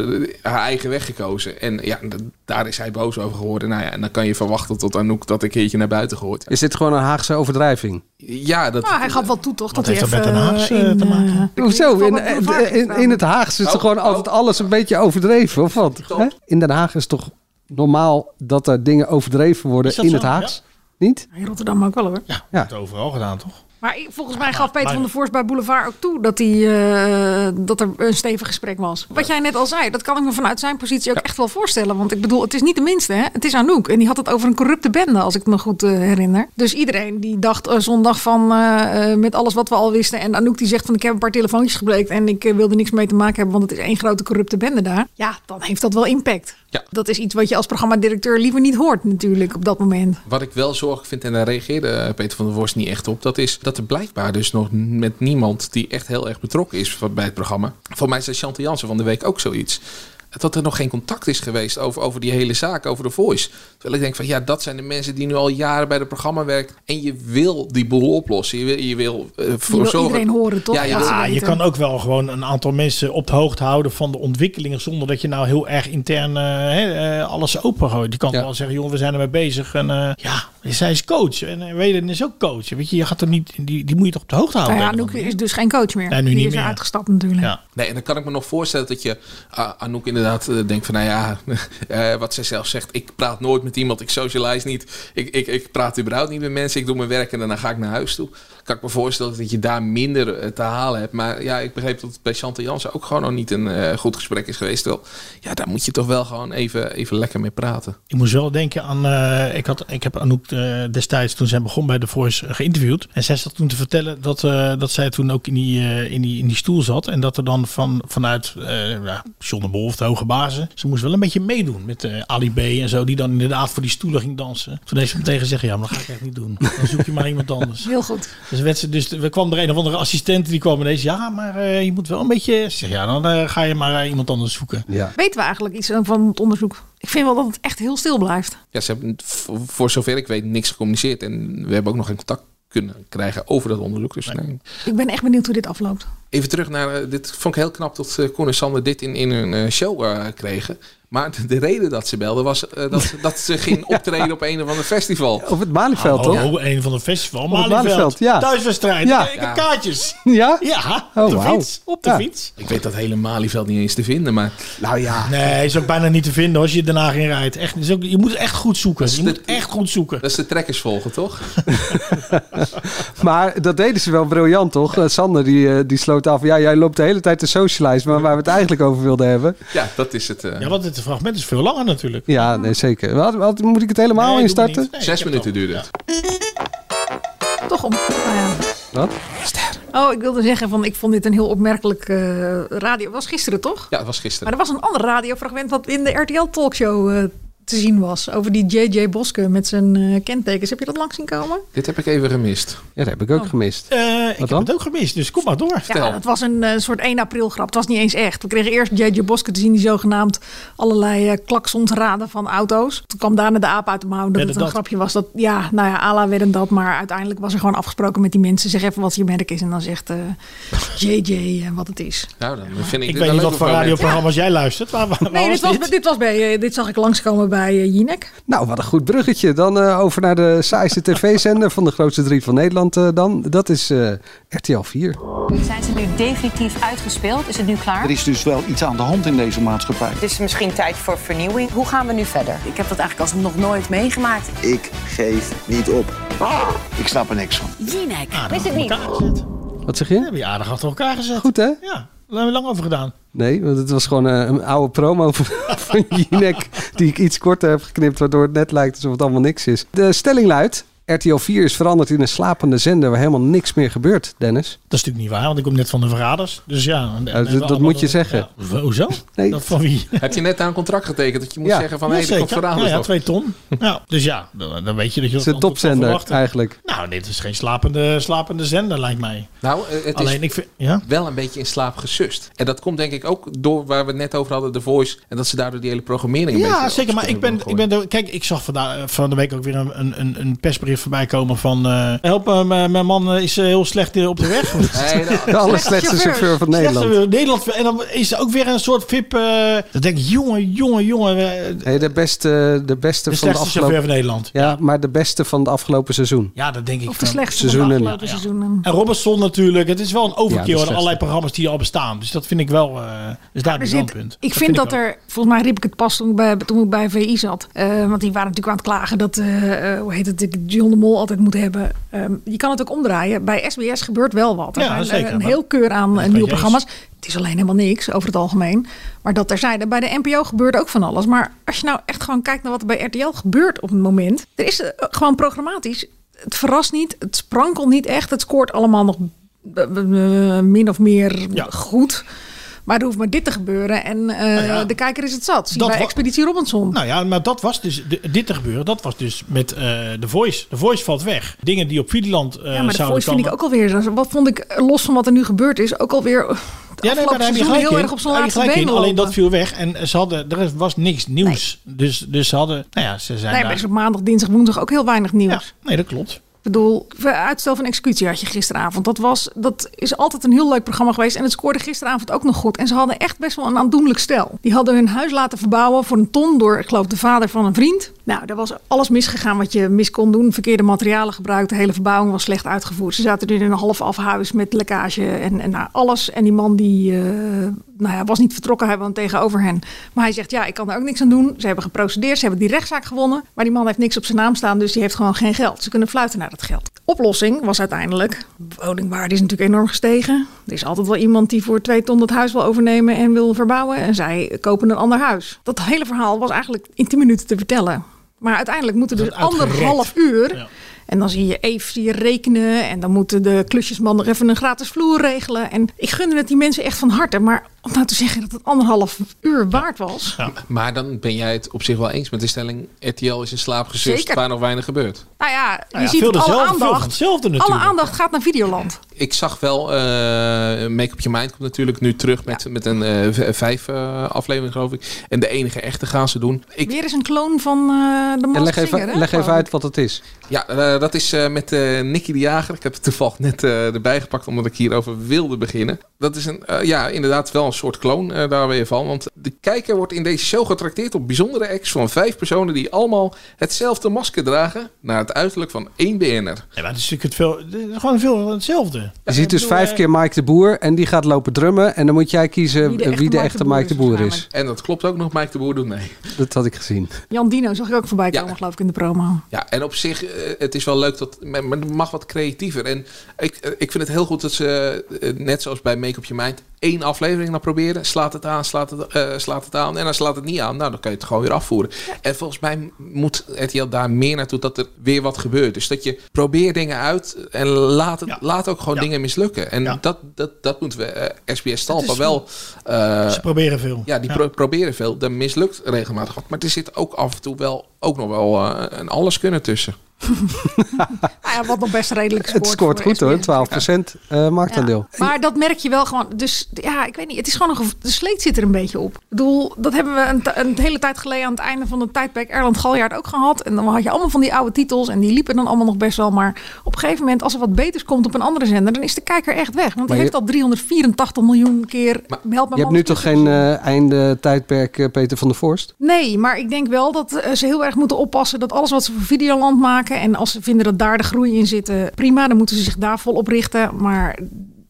D: de- haar eigen weg gekozen. En ja, d- daar is hij boos over geworden. Nou ja, en dan kan je verwachten tot Anouk dat een keertje naar buiten gooit.
C: Is dit gewoon een Haagse overdrijving?
D: Ja, dat...
A: Nou, hij gaf wel toe, toch? Dat hij
B: heeft
A: even...
B: dat met Den Haag,
A: eh, in,
B: te maken?
A: eh,
C: Hoezo?
A: weet
C: In,
A: niet of dat boulevard
C: in, in,
A: is
C: het Haagse is
D: Oh,
C: toch gewoon altijd alles een beetje overdreven? Of wat? Hè? In Den Haag is toch normaal dat er dingen overdreven worden
B: Is dat
C: in
B: zo?
C: het Haags? Niet?
A: In Rotterdam ook wel, hoor.
C: Ja.
B: Dat overal gedaan, toch?
A: Maar ik- volgens mij gaf Peter
B: maar-
A: van der Voorst bij Boulevard ook toe dat, hij, eh, dat er een stevig gesprek was. Wat jij net al zei, dat kan ik me vanuit zijn positie ook echt wel voorstellen. Want ik bedoel, het is niet de minste, hè? het is Anouk. En die had het over een corrupte bende, als ik me goed eh, herinner. Dus iedereen die dacht eh, zondag van eh, eh, met alles wat we al wisten. En Anouk die zegt van ik heb een paar telefoontjes gebleekt en ik eh, wil er niks mee te maken hebben, want het is één grote corrupte bende daar. Ja, dan heeft dat wel impact.
D: Ja.
A: Dat is iets wat je als programmadirecteur liever niet hoort natuurlijk op dat moment.
D: Wat ik wel zorg vind, en daar reageerde eh, Peter van der Worst niet echt op, dat is dat er blijkbaar dus nog met niemand die echt heel erg betrokken is van- bij het programma. Voor mij zei Chante Jansen van de week ook zoiets. dat er nog geen contact is geweest over, over die hele zaak, over de Voice. Terwijl ik denk van ja, dat zijn de mensen die nu al jaren bij het programma werken. En je wil die boel oplossen. Je wil, je wil eh, voor
A: wil
D: zorgen.
A: iedereen horen, toch?
D: Ja, je
A: Ja.
D: wil-
A: Ah,
B: je
A: weten.
B: kan ook wel gewoon een aantal mensen op de hoogte houden van de ontwikkelingen. zonder dat je nou heel erg intern eh, hè, eh, alles opengooit. Je kan wel zeggen: joh, we zijn ermee bezig. En eh, ja, zij is coach. En eh, Weden is ook coach. Weet je, je gaat toch niet, die, die moet je toch op de hoogte
A: Nou
B: houden.
A: ja, Anouk is dus geen coach meer.
B: Nee, nu
A: die
B: niet
A: is
B: meer.
A: uitgestapt natuurlijk.
D: Nee, en dan kan ik me nog voorstellen dat je ah, Anouk inderdaad eh, denkt van, nou ja, eh, wat zij zelf zegt, ik praat nooit met iemand, ik socialize niet, ik, ik, ik praat überhaupt niet met mensen, ik doe mijn werk en daarna ga ik naar huis toe. Kan ik me voorstellen dat je daar minder eh, te halen hebt. Maar ja, ik begreep dat het bij Chantal Jansen ook gewoon nog niet een eh, goed gesprek is geweest. Wel, ja, daar moet je toch wel gewoon even, even lekker mee praten.
B: Ik moest wel denken aan. eh, ik, had, ik heb Anouk eh, destijds, toen zij begon bij The Voice, eh, geïnterviewd. En zij zat toen te vertellen dat, eh, dat zij toen ook in die, eh, in, die, in die stoel zat. En dat er dan van, vanuit eh ja, John de Bol of de hoge bazen. Ze moest wel een beetje meedoen met eh, Ali B en zo. Die dan inderdaad voor die stoelen ging dansen. Toen heeft ze meteen gezegd: Ja, maar dat ga ik echt niet doen. Dan zoek je maar iemand anders.
A: Heel goed.
B: Dus, werd ze, dus er kwam er een of andere assistent die kwam ineens. Ja, maar eh, je moet wel een beetje. Ze zegt, ja, dan eh, ga je maar eh, iemand anders zoeken.
C: Ja.
A: Weten we eigenlijk iets van het onderzoek? Ik vind wel dat het echt heel stil blijft.
D: Ja, ze hebben v- voor zover ik weet niks gecommuniceerd en we hebben ook nog geen contact kunnen krijgen over dat onderzoek. Dus nee.
A: Ik ben echt benieuwd hoe dit afloopt.
D: Even terug naar, eh, dit vond ik heel knap dat eh, Koen en Sander dit in, in hun eh, show eh, kregen. Maar de, de reden dat ze belden was eh, dat, ze- dat ze ging optreden op een of ander festival.
C: Op het Malieveld,
B: Hallo,
C: toch?
B: Oh, een van de festival.
C: Op het
B: Malieveld.
C: Malieveld, ja.
B: Thuiswedstrijd.
C: Ja.
B: Ik
D: Ja.
B: heb kaartjes.
C: Ja?
B: Ja, op
C: Oh,
B: de
C: wauw.
B: fiets. Op de
C: Ja.
B: fiets.
D: Ik weet dat hele Malieveld niet eens te vinden, maar...
C: Nou ja.
B: Nee, is ook bijna niet te vinden als je daarna ging rijdt. Echt, is ook, je moet echt goed zoeken.
D: Dat is
B: Je
D: de-
B: moet echt goed zoeken.
D: Dat is de trekkers volgen, toch?
C: Maar dat deden ze wel briljant, toch? Eh, Sander die, eh, die sloot af. Ja, jij loopt de hele tijd te socializen, maar waar we het eigenlijk over wilden hebben.
D: Ja, dat is het. eh.
B: Ja, want het fragment is veel langer natuurlijk.
C: Ja, nee, zeker. Wat, wat, moet ik het helemaal
B: Nee, doe maar
C: instarten?
B: niet. Nee,
D: Zes
B: ik heb
D: minuten duurde het.
A: Toch om. nou ja.
C: Wat?
A: Oh, ik wilde zeggen van ik vond dit een heel opmerkelijk eh, radio. Het was gisteren toch?
D: Ja, dat was
A: Maar
D: gisteren.
A: er was een ander radiofragment wat in de RTL talkshow eh, te zien was. Over die JJ Boske met zijn eh, kentekens. Heb je dat langs zien komen?
D: Dit heb ik even gemist.
C: Ja, dat heb ik ook gemist.
B: Eh, ik
C: dan?
B: heb het ook gemist, dus kom maar door.
A: Ja, dat was een eh, soort 1 april grap. Het was niet eens echt. We kregen eerst JJ Boske te zien die zogenaamd allerlei eh, klaksons raden van auto's. Toen kwam daarna de aap uit de mouw dat
B: Werden
A: het een
B: dat.
A: grapje was. Dat, ja, nou ja, ala werden dat. Maar uiteindelijk was er gewoon afgesproken met die mensen. Zeg even wat je merk is en dan zegt eh, JJ en wat het is.
D: Nou, dan vind ik,
B: Ik
D: dit
B: weet
D: een
B: niet
D: leuk
B: wat voor
D: moment.
B: radioprogramma's jij luistert. Maar, waar- waar
A: Nee, dit
B: was
A: was,
B: dit?
A: dit? was bij, eh, dit zag ik langskomen bij eh, Jinek.
C: Nou, wat een goed bruggetje. Dan eh, over naar de saaiste tv-zender van de grootste drie van Nederland eh, dan. Dat is eh, RTL 4.
P: Zijn ze nu definitief uitgespeeld? Is het nu klaar?
I: Er is dus wel iets aan de hand in deze maatschappij.
P: Het is misschien tijd voor vernieuwing. Hoe gaan we nu verder? Ik heb dat eigenlijk als nog nooit meegemaakt.
I: Ik geef niet op. Ik snap er niks van.
P: Jinek,
B: Ah,
P: wist
B: dat
P: het niet.
B: elkaar gezet.
C: Wat zeg je?
B: Heb je aardig achter elkaar gezet.
C: Goed, hè?
B: Ja, daar hebben we lang over gedaan.
C: Nee, want het was gewoon eh, een oude promo van- van Jinek... die ik iets korter heb geknipt, waardoor het net lijkt alsof het allemaal niks is. De stelling luidt... RTL 4 is veranderd in een slapende zender waar helemaal niks meer gebeurt, Dennis.
B: Dat is natuurlijk niet waar, want ik kom net van de verraders. Dus ja. dan hebben we
C: dat
B: allemaal
C: moet je
B: de-
C: zeggen.
B: Ja, hoezo?
C: Nee.
B: Dat van wie?
D: Heb je net daar een contract getekend dat je moet
C: Ja.
D: zeggen van...
B: Ja,
D: hé, hey, er komt
B: zeker.
D: verhaal
B: ja, ja,
D: nog.
B: twee ton. Ja, dus ja, dan, dan weet je dat je
C: Het is een
B: dat antwoord kan
C: topzender
B: verwachten.
C: eigenlijk.
B: Nou, dit is geen slapende, slapende zender, lijkt mij.
D: Nou, eh, het is
B: Alleen ik vind. Ja?
D: wel een beetje in slaap gesust. En dat komt denk ik ook door waar we het net over hadden, The Voice. En dat ze daardoor die hele programmering een beetje
B: Ja,
D: op
B: zeker. Maar ik
D: schoenen
B: ben,
D: willen
B: ik
D: gooien.
B: ben. er- Kijk, ik zag vandaag, van de week ook weer een, een- een, een persbericht voorbij komen van. eh, help me, mijn mijn man eh, is eh, heel slecht eh, op de weg.
D: Nee, nou,
C: De allerslechtste
A: chauffeurs.
C: chauffeur van
B: Slechtste
C: Nederland.
B: Nederland. En dan is er ook weer een soort VIP. eh dan denk ik, jongen, jongen, jongen. eh,
C: Hey, de beste, de beste
B: de
C: van de
B: slechtste chauffeur
C: afgelopen...
B: van Nederland.
C: Ja, maar de beste van het afgelopen seizoen.
B: Ja, dat denk ik.
A: Of de
B: van-
A: slechtste van
C: seizoenen.
A: de afgelopen
B: Ja, ja.
A: seizoenen.
B: En Robinson natuurlijk. Het is wel een
C: Ja, dat is
B: overkill aan
C: slecht.
B: allerlei programma's die al bestaan. Dus dat vind ik wel... eh dus daar
A: Er
B: heb je
A: zit-
B: wel een punt.
A: ik vind dat
B: ik wel.
A: er, volgens mij riep ik het pas toen ik bij, toen ik bij VI zat. Eh, want die waren natuurlijk aan het klagen dat, eh, eh, hoe heet het, John de Mol altijd moet hebben. Ehm, je kan het ook omdraaien. Bij SBS gebeurt wel wat. Er
B: Ja,
A: zijn eh,
B: zeker,
A: een
B: maar-
A: heel keur aan eh,
B: je
A: nieuwe
B: eens.
A: programma's. Het is alleen helemaal niks over het algemeen. Maar dat terzijde, bij de NPO gebeurt ook van alles. Maar als je nou echt gewoon kijkt naar wat er bij RTL gebeurt op het moment. Er is eh, gewoon programmatisch. Het verrast niet, het sprankelt niet echt. Het scoort allemaal nog eh, eh, min of meer
B: Ja.
A: goed. Maar er hoeft maar dit te gebeuren en eh,
B: Nou ja.
A: de kijker is het zat. Zie
B: Dat
A: bij
B: wa-
A: Expeditie Robinson.
B: Nou ja, maar dat was dus... de- dit te gebeuren, dat was dus met eh The Voice. The Voice valt weg. Dingen die op Videoland
A: ja,
B: eh
A: maar de
B: zouden
A: Voice vind
B: komen.
A: ik ook alweer... Wat vond ik, eh, los van wat er nu gebeurd is, ook alweer... het afgelopen seizoen heel erg op zijn
B: Daar heb je
A: laatste
B: gelijk
A: been
B: in. Alleen dat
A: lopen.
B: viel weg en eh, ze hadden, er was niks nieuws. Dus, dus ze hadden, nou ja, ze zijn
A: Nee, maar
B: daar-
A: er is op maandag, dinsdag, woensdag ook heel weinig nieuws.
B: Nee, dat klopt.
A: Ik bedoel, uitstel van executie had je gisteravond. Dat, was, dat is altijd een heel leuk programma geweest. En het scoorde gisteravond ook nog goed. En ze hadden echt best wel een aandoenlijk stel. Die hadden hun huis laten verbouwen voor een ton door, ik geloof, de vader van een vriend. Nou, daar was alles misgegaan wat je mis kon doen. Verkeerde materialen gebruikt. De hele verbouwing was slecht uitgevoerd. Ze zaten in een half af huis met lekkage en, en nou, alles. En die man die, eh, nou ja, was niet vertrokken. Hij woont tegenover hen. Maar hij zegt, ja, ik kan daar ook niks aan doen. Ze hebben geprocedeerd. Ze hebben die rechtszaak gewonnen. Maar die man heeft niks op zijn naam staan. Dus die heeft gewoon geen geld. Ze kunnen fluiten naar dat geld. Oplossing was uiteindelijk, woningwaarde is natuurlijk enorm gestegen. Er is altijd wel iemand die voor twee ton dat huis wil overnemen en wil verbouwen. En zij kopen een ander huis. Dat hele verhaal was eigenlijk in 10 minuten te vertellen. Maar uiteindelijk moeten dus
H: wordt uitgerekt.
A: anderhalf uur. En dan zie je even zie je rekenen. En dan moeten de klusjesman nog even een gratis vloer regelen. En ik gunde het die mensen echt van harte. Maar om nou te zeggen dat het anderhalf uur waard was.
D: Maar dan ben jij het op zich wel eens met de stelling... RTL is in slaap gesust
A: Zeker.
D: waar nog weinig gebeurt.
A: Nou ja, je
D: Nou ja,
A: ziet
D: veel
A: dat alle
D: dezelfde- veel van
A: aandacht.
D: hetzelfde
A: alle
D: natuurlijk.
A: aandacht gaat naar Videoland.
D: Ik zag wel, eh, Make Up Your Mind komt natuurlijk nu terug met, met een eh, v- vijf eh, aflevering geloof ik. En de enige echte gaan ze doen. Ik,
A: Weer is een kloon van eh, de man.
D: leg even-
A: hè,
D: leg even
A: geloof ik.
D: uit
C: Wat het is.
D: Ja, eh, dat is eh, met eh Nicky de Jager. Ik heb het toevallig net eh, erbij gepakt omdat ik hierover wilde beginnen. Dat is een, eh, ja, inderdaad wel een soort kloon eh, daar weer van. Want de kijker wordt in deze show getrakteerd op bijzondere acts van vijf personen die allemaal hetzelfde masker dragen naar het uiterlijk van één BN'er.
B: Ja, maar het is natuurlijk het veel, het is gewoon veel hetzelfde.
C: Je ziet dus vijf keer Mike de Boer en die gaat lopen drummen. En dan moet jij kiezen eh, wie de echte, Mike, de Boer is.
D: En dat klopt ook nog, Mike de Boer doet mee.
C: Dat had ik gezien.
A: Jan Dino zag ik ook voorbij komen, geloof ik, in de promo.
D: Ja, en op zich, eh, het is wel leuk dat men, men mag wat creatiever. En ik, eh, ik vind het heel goed dat ze, eh, net zoals bij Make Up Your Mind, één aflevering dan proberen. Slaat het aan, slaat het, eh, slaat het aan. En dan slaat het niet aan, nou dan kan je het gewoon weer afvoeren. En volgens mij moet RTL daar meer naartoe dat er weer wat gebeurt. Dus dat je probeer dingen uit en laat, het, laat ook gewoon dingen mislukken. En dat, dat, dat moeten we eh, SBS Talpa
B: is-
D: wel... eh,
B: Ze proberen veel.
D: ja, die pro- proberen veel. Dat mislukt regelmatig. wat. Maar er zit ook af en toe wel ook nog wel eh, een alles kunnen tussen. Ah
A: Nou ja, wat nog best redelijk
C: Het
A: scoort.
C: scoort
A: voor
C: goed hoor,
A: SBS.
C: 12% eh, marktaandeel.
A: Maar dat merk je wel gewoon. Dus ja, ik weet niet. Het is gewoon een gevo- De sleet zit er een beetje op. Ik bedoel, dat hebben we een, t- een hele tijd geleden aan het einde van het tijdperk Erland Galjaard ook gehad. En dan had je allemaal van die oude titels. En die liepen dan allemaal nog best wel. Maar op een gegeven moment, als er wat beters komt op een andere zender, dan is de kijker echt weg. Want
C: Maar
A: die
C: je-
A: heeft al 384 miljoen keer. help me
C: Je hebt
A: man,
C: nu toch geen eh, einde tijdperk eh, Peter van der Vorst?
A: Nee, maar ik denk wel dat eh, ze heel erg moeten oppassen dat alles wat ze voor Videoland maken en als ze vinden dat daar de groei in zit, eh, prima, dan moeten ze zich daar vol op richten. Maar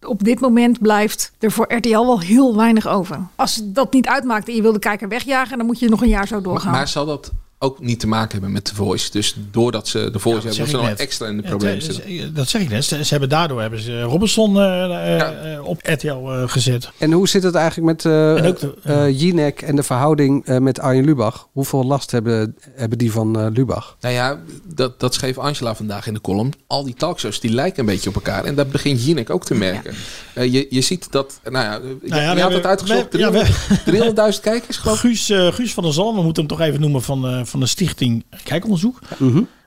A: op dit moment blijft er voor RTL wel heel weinig over. Als dat niet uitmaakt en je wil de kijker wegjagen, dan moet je nog een jaar zo
D: Maar,
A: doorgaan.
D: maar zal dat ook niet te maken hebben met The Voice? Dus doordat ze The Voice
B: Dat
D: hebben,
B: zeg
D: ze
B: ik
D: nog
B: net.
D: extra in de
B: Ja, dus-
D: problemen
B: dat-
D: zitten.
B: Dat zeg ik net. Ze, ze hebben daardoor hebben ze Robinson eh, eh, eh, op RTL eh, gezet.
C: En hoe zit het eigenlijk met eh
B: En ook de-
C: eh, Jinek en de verhouding eh, met Arjen Lubach? Hoeveel last hebben, hebben die van eh, Lubach?
D: Nou ja, dat, dat schreef Angela vandaag in de column. Al die talkshows die lijken een beetje op elkaar. En dat begint Jinek ook te merken. Eh, je, je ziet dat, nou ja, je,
B: Nou ja,
D: je
B: we
D: had
B: hebben-
D: het uitgezocht.
B: we- ja, we-
D: 300 300.000 kijkers geloof ik.
B: Guus, eh, Guus van der Zalm, we moeten hem toch even noemen van, eh, van de stichting Kijkonderzoek.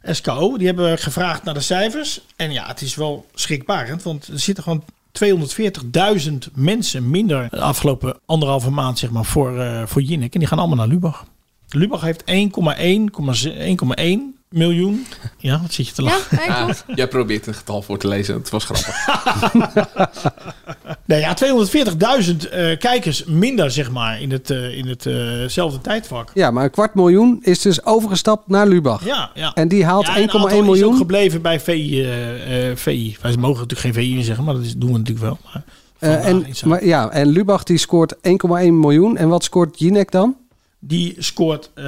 B: SKO, die hebben gevraagd naar de cijfers. En ja, het is wel schrikbarend, want er zitten gewoon 240.000 mensen minder de afgelopen anderhalve maand zeg maar, voor, eh voor Jinek. En die gaan allemaal naar Lubach. Lubach heeft 1,1 1,1 miljoen. Ja, wat zit je te lachen?
D: Ah, jij probeert een getal voor te lezen. Het was grappig.
B: Nou ja, 240.000 eh, kijkers minder, zeg maar, in hetzelfde in het, eh, zelfde tijdvak.
C: Ja, maar een kwart miljoen is dus overgestapt naar Lubach.
B: Ja, ja.
C: En die haalt
B: Ja,
C: 1,1
B: een aantal is ook
C: miljoen.
B: gebleven bij VI, eh, eh, VI. Wij mogen natuurlijk geen VI meer zeggen, maar dat is, doen we natuurlijk wel. Maar
C: Eh, en, maar, ja, en Lubach die scoort 1,1 miljoen. En wat scoort Jinek dan?
B: die scoort, eh,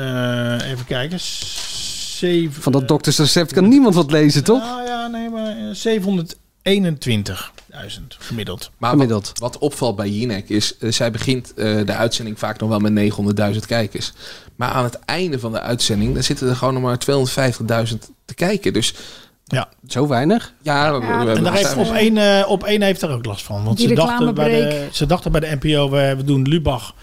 B: even kijken, zeven,
C: Van dat doktersrecept kan niemand wat lezen, toch?
B: nou Eh, ja, nee, maar eh, 721.000 gemiddeld.
D: Maar wat, wat opvalt bij Jinek is, eh, zij begint eh, de uitzending vaak nog wel met 900.000 kijkers. Maar aan het einde van de uitzending, dan zitten er gewoon nog maar 250.000 te kijken. Dus
B: Ja.
C: Zo weinig?
D: Ja, we- we- we-
B: En daar
D: we-
B: heeft
D: we-
B: op één, eh, op één heeft er ook last van. Want
A: Die
B: ze dachten, bij de,
A: reclamebreak.
B: ze dachten bij de NPO, we, we doen Lubach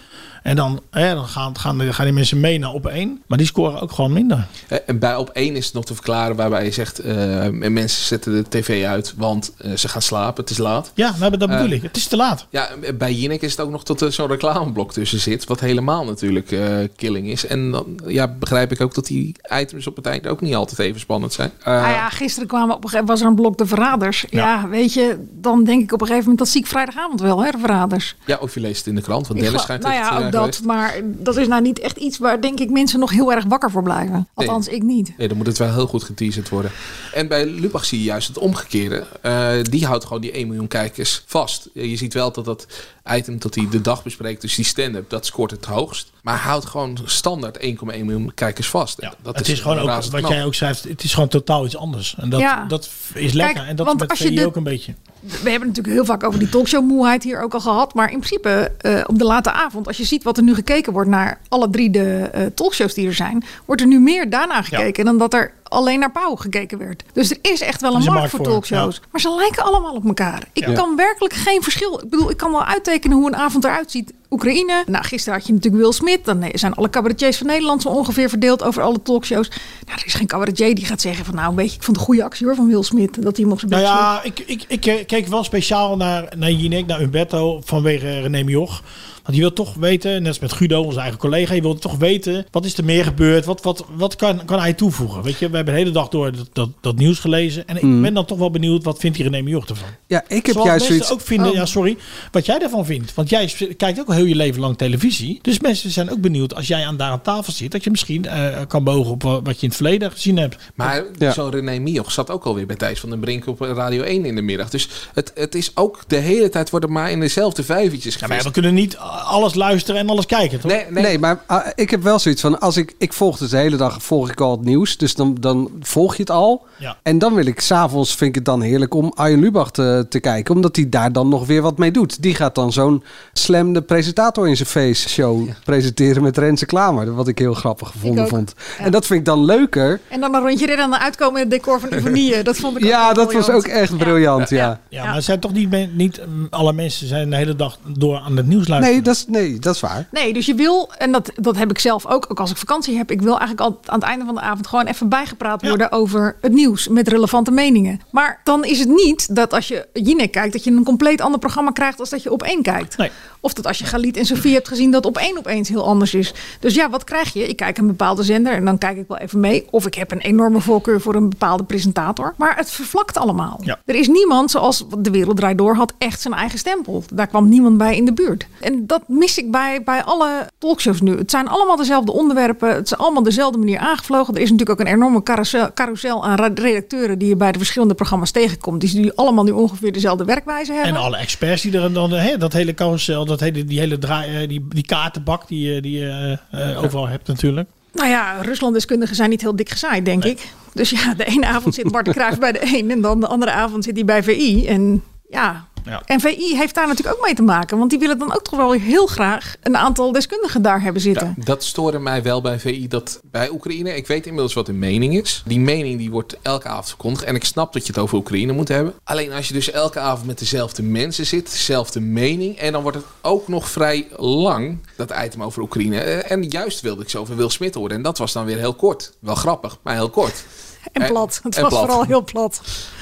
B: En dan, hè, dan gaan, gaan, gaan die mensen mee naar op één. Maar die scoren ook gewoon minder.
D: Eh, En bij op één is het nog te verklaren waarbij je zegt... eh, mensen zetten de tv uit, want eh, ze gaan slapen, het is laat.
B: Ja, nou, maar dat
D: Eh,
B: bedoel ik. Het is te laat.
D: Ja, bij Jinek is het ook nog dat er zo'n reclameblok tussen zit. Wat helemaal natuurlijk eh, killing is. En dan ja, begrijp ik ook dat die items op het eind ook niet altijd even spannend zijn. Eh,
A: Nou ja, gisteren kwamen op een gegeven, was er een blok de verraders. Ja.
D: Ja.
A: weet je, dan denk ik op een gegeven moment, dat zie ik vrijdagavond wel, hè, de verraders.
D: ja, of je leest het in de krant, want
A: Ik
D: Dennis
A: geloof-
D: schijnt
A: nou
D: het
A: ja,
D: eh,
A: ook dat.
D: geweest.
A: Maar dat is nou niet echt iets waar denk ik mensen nog heel erg wakker voor blijven. Althans, ik niet.
D: Nee, dan moet het wel heel goed geteaserd worden. En bij Lubach zie je juist het omgekeerde. Eh, die houdt gewoon die 1 miljoen kijkers vast. Eh, Je ziet wel dat dat item dat hij de dag bespreekt, dus die stand-up, dat scoort het hoogst. Maar hij houdt gewoon standaard 1,1 miljoen kijkers vast. dat
B: het is, gewoon ook, wat
D: razend knap.
B: jij ook schrijft, het is gewoon totaal iets anders. En dat,
A: Ja.
B: dat is lekker.
A: Kijk,
B: en dat is
A: want
B: met
A: als je
B: VI
A: dit-
B: ook een beetje.
A: We hebben natuurlijk heel vaak over die talkshow-moeheid hier ook al gehad. Maar in principe, eh, op de late avond, als je ziet wat er nu gekeken wordt naar alle drie de eh, talkshows die er zijn, wordt er nu meer daarna gekeken dan dat er alleen naar Pauw gekeken werd. Dus er is echt wel
B: Er
A: een,
B: is
A: markt, voor talkshows.
B: ja.
A: Maar ze lijken allemaal op elkaar. Ik
B: Ja.
A: kan werkelijk geen verschil. Ik bedoel, ik kan wel uittekenen hoe een avond eruit ziet. Oekraïne. Nou, gisteren had je natuurlijk Will Smith. Dan eh, zijn alle cabaretiers van Nederland zo ongeveer verdeeld over alle talkshows. Nou, er is geen cabaretier die gaat zeggen van nou, weet je, ik vond het een goede actie hoor van Will Smith. Dat hij mocht zijn
B: Nou
A: bek sloeg.
B: ja, ik, ik, ik eh, keek wel speciaal naar, naar Jinek, naar Umberto vanwege René Mioch. Want je wil toch weten, net als met Guido, onze eigen collega, je wil toch weten wat is er meer gebeurd, wat, wat, wat kan, kan hij toevoegen. Weet je, we hebben de hele dag door dat, dat, dat nieuws gelezen. En ik
C: Mm.
B: ben dan toch wel benieuwd, wat vindt die René Mioch ervan?
C: Ja, ik heb
B: Zoals
C: juist
B: mensen
C: zoiets.
B: ook vinden,
C: Oh.
B: ja sorry, wat jij daarvan vindt. Want jij s- kijkt ook al heel je leven lang televisie. Dus mensen zijn ook benieuwd, als jij aan daar aan tafel zit, dat je misschien eh, kan bogen op wa- wat je in het verleden gezien hebt.
D: Maar zo'n René Mioch zat ook alweer bij Thijs van den Brink op Radio 1 in de middag. Dus het, het is ook de hele tijd worden maar in dezelfde vijvertjes
B: Maar ja,
D: gevist.
B: we kunnen niet alles luisteren en alles kijken, toch?
D: Nee,
C: Nee, maar ah, ik heb wel zoiets van, als ik, ik volg het de hele dag, volg ik al het nieuws. Dus dan, dan volg je het al.
B: Ja.
C: En dan wil ik, s'avonds vind ik het dan heerlijk om Arjen Lubach te, te kijken. Omdat hij daar dan nog weer wat mee doet. Die gaat dan zo'n slam de presentator in zijn face show presenteren met Renze Klamer. Wat ik heel grappig gevonden
A: ook.
C: vond. En dat vind ik dan leuker.
A: En dan een rondje rennen en dan uitkomen in het decor van Ivonie. Dat vond ik ook
C: Ja,
A: wel
C: dat was
A: briljant.
C: ook echt briljant, ja.
B: Ja, maar het zijn toch niet, men- niet mm, alle mensen zijn de hele dag door aan het nieuws luisteren.
C: Nee, dat is, nee, dat is waar.
A: Nee, dus je wil, en dat, dat heb ik zelf ook, ook als ik vakantie heb. Ik wil eigenlijk al aan het einde van de avond gewoon even bijgepraat worden over het nieuws met relevante meningen. Maar dan is het niet dat als je Jinek kijkt, dat je een compleet ander programma krijgt als dat je op één kijkt. Of dat als je Galit en Sofie hebt gezien, dat op één opeens heel anders is. Dus ja, wat krijg je? Ik kijk een bepaalde zender en dan kijk ik wel even mee. Of ik heb een enorme voorkeur voor een bepaalde presentator. Maar het vervlakt allemaal.
B: Ja.
A: Er is niemand zoals De Wereld Draait Door had echt zijn eigen stempel. Daar kwam niemand bij in de buurt. En dat mis ik bij, bij alle talkshows nu. Het zijn allemaal dezelfde onderwerpen. Het is allemaal dezelfde manier aangevlogen. Er is natuurlijk ook een enorme carousel, carousel aan ra- redacteuren... die je bij de verschillende programma's tegenkomt. Die nu allemaal nu ongeveer dezelfde werkwijze hebben.
B: En alle experts die er dan, hè, dat hele carousel, dat hele, die hele draai, eh, die, die kaartenbak die je die, je, eh, eh, overal hebt natuurlijk.
A: Nou ja, Ruslanddeskundigen zijn niet heel dik gezaaid, denk ik. Dus ja, de ene avond zit Bart de Kruijf bij de een... en dan de andere avond zit hij bij VI. En ja...
B: Ja.
A: En VI heeft daar natuurlijk ook mee te maken. Want die willen dan ook toch wel heel graag een aantal deskundigen daar hebben zitten.
D: Ja, Nou, dat stoorde mij wel bij VI. Dat bij Oekraïne, ik weet inmiddels wat hun mening is. Die mening die wordt elke avond verkondigd. En ik snap dat je het over Oekraïne moet hebben. Alleen als je dus elke avond met dezelfde mensen zit, dezelfde mening. En dan wordt het ook nog vrij lang, dat item over Oekraïne. Eh, En juist wilde ik zo van Will Smith horen. En dat was dan weer heel kort. Wel grappig, maar heel kort.
A: En
D: Eh,
A: plat. Het
D: en
A: was
D: plat.
A: vooral heel plat.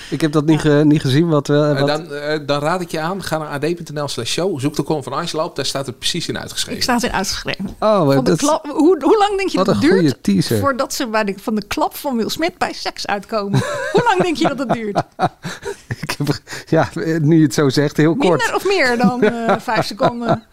C: Ik heb dat niet, ge- niet gezien. Wat, eh,
D: Eh,
C: wat-
D: dan, eh, dan raad ik je aan, ga naar ad.nl slash show. Zoek de column van Angela op, daar staat het precies in uitgeschreven.
A: Ik sta het in uitgeschreven.
C: Oh,
A: Van de
C: dat-
A: klap- hoe, hoe lang denk je
C: Wat
A: dat het
C: een goede
A: duurt
C: teaser.
A: voordat ze bij de, van de klap van Will Smith bij seks uitkomen? hoe lang denk je dat het duurt?
C: ik heb- ja, eh, nu je het zo zegt, heel
A: Minder
C: kort.
A: of meer dan eh, vijf seconden?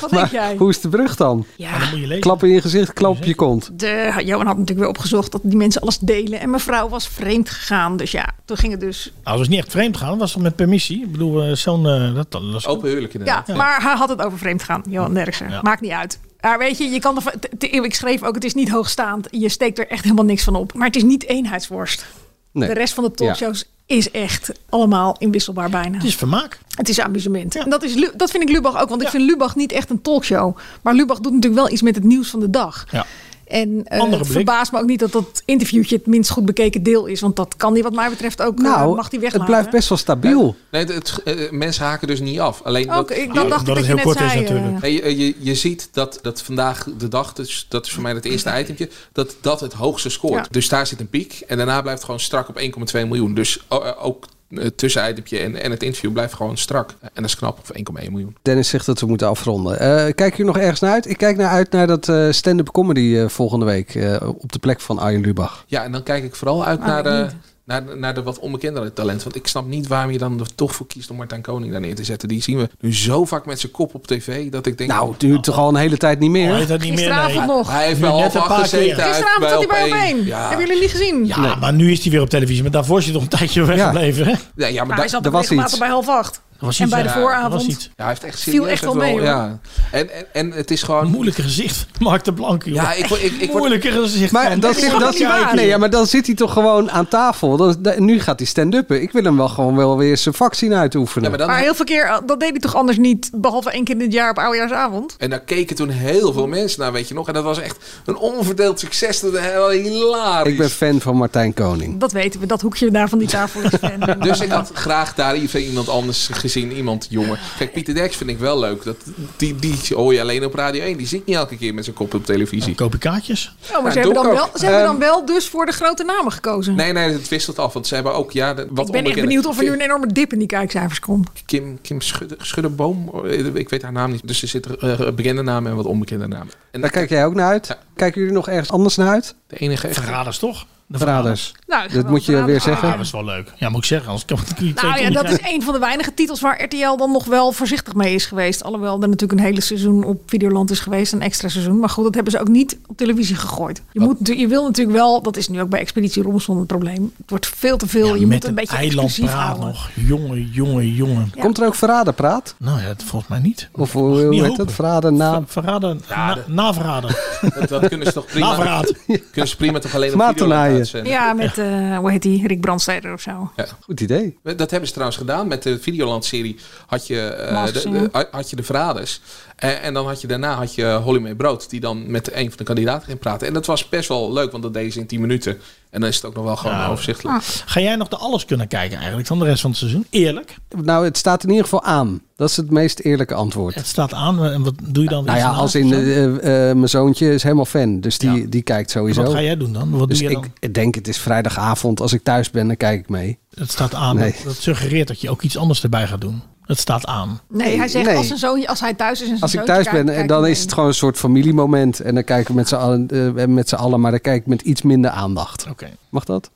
A: Wat denk
C: Maar
A: jij?
C: hoe is de brug dan?
A: Ja, dat moet je lezen.
C: Klap in je gezicht, klap op je kont.
A: De, Johan had natuurlijk weer opgezocht dat die mensen alles delen. En mevrouw was vreemd gegaan. Dus ja, toen ging het dus.
B: Nou, dat is niet echt vreemd gaan, was toch met permissie? Ik bedoel, eh, zo'n... eh, dat, dat was
D: Open huwelijk
A: Ja, maar hij had het over vreemd gaan. Johan Derksen.
B: Ja.
A: Maakt niet uit. Maar weet je, je kan er, van- t- t- ik schreef ook, het is niet hoogstaand. Je steekt er echt helemaal niks van op. Maar het is niet eenheidsworst.
B: Nee.
A: De rest van de talkshows is echt allemaal inwisselbaar bijna.
B: Het is vermaak.
A: Het is amusement. En dat, is, Lu- dat vind ik Lubach ook. Want ik vind Lubach niet echt een talkshow. Maar Lubach doet natuurlijk wel iets met het nieuws van de dag.
B: Ja.
A: En eh,
B: Andere
A: het
B: blik.
A: verbaast me ook niet dat dat interviewtje het minst goed bekeken deel is. Want dat kan die wat mij betreft ook, eh,
C: Nou,
A: mag die weglaten.
C: het blijft best wel stabiel.
D: Nee, het, het- eh, mensen haken dus niet af. Alleen
A: Oké, ik- dat dacht ik Dat het dat je heel net kort is zei, eh. natuurlijk.
D: Nee, je, je, je ziet dat, dat vandaag de dag, dus dat is voor mij het eerste itempje, dat dat het hoogste scoort.
A: Ja.
D: Dus daar zit een piek. En daarna blijft het gewoon strak op 1,2 miljoen. Dus o- eh, ook het tussenitempje en, en het interview blijft gewoon strak. En dat is knap, op 1,1 miljoen.
C: Dennis zegt dat we moeten afronden. Eh, kijk je nog ergens naar uit? Ik kijk naar uit naar dat eh, stand-up comedy eh, volgende week eh, op de plek van Arjen Lubach.
D: Ja, en dan kijk ik vooral uit
A: Ah,
D: naar,
A: ik
D: de,
A: niet.
D: naar, naar de wat onbekendere talent. Want ik snap niet waarom je dan er toch voor kiest om Martijn Koning daar neer te zetten. Die zien we nu zo vaak met zijn kop op tv dat ik denk...
C: Nou, het duurt toch al een hele tijd niet meer?
B: Hij heeft Oh, dat niet meer.
A: Gisteravond
B: nee.
A: nog.
D: Hij heeft
B: Nu
D: wel
B: net een
D: half
B: paar
D: acht gezeten.
B: keer.
D: Hij heeft
A: Gisteravond zat hij bij
D: Opeen.
A: opeen.
D: Ja.
A: Hebben jullie niet gezien?
B: Ja, maar nu is hij weer op televisie. Maar daarvoor is hij toch een tijdje weggebleven. hè?
D: Ja, ja, maar
A: Maar hij
D: daar
A: zat er
D: Nou, was
A: regelmatig
D: iets.
A: bij half acht.
B: was
A: en
B: iets,
A: bij de
B: ja.
A: vooravond.
B: Er was iets.
D: Ja, hij heeft echt
A: Viel
D: serieus
A: echt wel mee, hoor.
D: ja. en, en, en het is gewoon...
B: Moeilijke gezicht. Mark de Blank, joh.
D: Ja, ik, word- ik, ik word...
B: Moeilijke gezicht.
C: Maar, dat
B: is
C: zit,
B: toch
C: dat
B: niet
C: zit-
B: waar?
C: nee, ja, maar dan zit hij toch gewoon aan tafel. Dan, dan- nu gaat hij stand-uppen. Ik wil hem wel gewoon wel weer zijn vak zien uitoefenen.
D: Ja, maar dan,
A: Maar heel veel keer, eh, dat deed hij toch anders niet, behalve één keer in het jaar op oudejaarsavond?
D: en daar keken toen heel veel mensen naar, weet je nog. En dat was echt een onverdeeld succes. Dat was wel hilarisch.
C: Ik ben fan van Martijn Koning.
A: Dat weten we, dat hoekje daar van die tafel is fan.
D: Dus ik had graag daar even iemand anders gezien, iemand jonger. Kijk, Pieter Derks vind ik wel leuk. Dat, die, die hoor je alleen op Radio 1. Die zie ik niet elke keer met zijn kop op televisie.
B: Koop je kaartjes?
A: Oh, maar
D: Ja,
A: ze, hebben
D: doe
A: dan
D: ik
A: wel,
D: ook.
A: ze hebben dan
D: Ehm,
A: wel dus voor de grote namen gekozen.
D: Nee, nee, het wisselt af. Want ze hebben ook, ja, de- wat
A: ik ben echt
D: onbekende-
A: benieuwd of er nu een enorme dip in die kijkcijfers komt.
D: Kim, Kim Schudde- Schuddeboom, eh, ik weet haar naam niet. Dus er zitten eh, bekende namen en wat onbekende namen. En
C: Daar kijk jij ook naar uit. Kijken jullie nog ergens anders naar uit?
D: de enige...
B: Verraders toch? De
C: Verraders.
A: Nou,
C: Dat moet je weer
B: Ah, dat
C: zeggen.
B: is wel leuk. Ja, moet ik zeggen. Anders kan ik het niet
A: Nou ja, dat is een van de weinige titels waar RTL dan nog wel voorzichtig mee is geweest. Alhoewel er natuurlijk een hele seizoen op Videoland is geweest, een extra seizoen. Maar goed, dat hebben ze ook niet op televisie gegooid. Je, moet, natu- je wil natuurlijk wel, dat is nu ook bij Expeditie Robinson het probleem. Het wordt veel te veel, je
B: met
A: moet een
B: een
A: beetje exclusief
B: eilandpraat
A: houden.
B: nog. Jongen, jongen, jongen.
C: Komt er ook verraderpraat?
B: Nou ja, dat volgens mij niet.
C: Of eh, hoe, hoe
B: niet
C: heet
B: hopen.
C: dat? Verrader na...
B: Verraden, na, naverraden.
D: Dat, dat kunnen ze toch prima...
B: Naverraad.
D: kunnen ze prima toch alleen op
C: Maarten
D: video laten
C: Naaien.
D: uitzenden.
A: Ja, met, eh, hoe heet die, Rick Brandsteder of zo.
C: Goed idee.
D: Dat hebben ze trouwens gedaan met de Videoland-serie. Had, je, eh,
A: Maskers,
D: de- de- had je de Verraders. En, en dan had je daarna had je Holly May Brood. Die dan met een van de kandidaten ging praten. En dat was best wel leuk, want dat deden ze in 10 minuten. En dan is het ook nog wel gewoon
B: Ja.
A: Ah,
D: overzichtelijk.
B: Ga jij nog de alles kunnen kijken eigenlijk van de rest van het seizoen? Eerlijk.
C: Nou, het staat in ieder geval aan. Dat is het meest eerlijke antwoord.
B: Het staat aan. En wat doe je dan?
C: Nou ja,
B: Iets
C: als in
B: naast of zo?
C: eh, eh, eh, mijn zoontje is helemaal fan. Dus die, die kijkt sowieso.
B: Wat ga jij doen dan? Wat
C: dus
B: doe je dan?
C: ik denk het is vrijdagavond. Als ik thuis ben, dan kijk ik mee.
B: Het staat aan.
C: Nee.
B: Dat suggereert dat je ook iets anders erbij gaat doen. Het staat aan.
A: Nee, hij zegt
C: nee.
A: als, een zoon, als hij thuis is en zijn
C: Als ik
A: zoontje
C: thuis
A: kijkt,
C: ben, eh,
A: kijkt
C: dan
A: hij
C: is
A: mee.
C: het gewoon een soort familiemoment. En dan kijken we met z'n allen, eh, met z'n allen maar dan kijk ik met iets minder aandacht.
B: Oké.
C: Mag dat?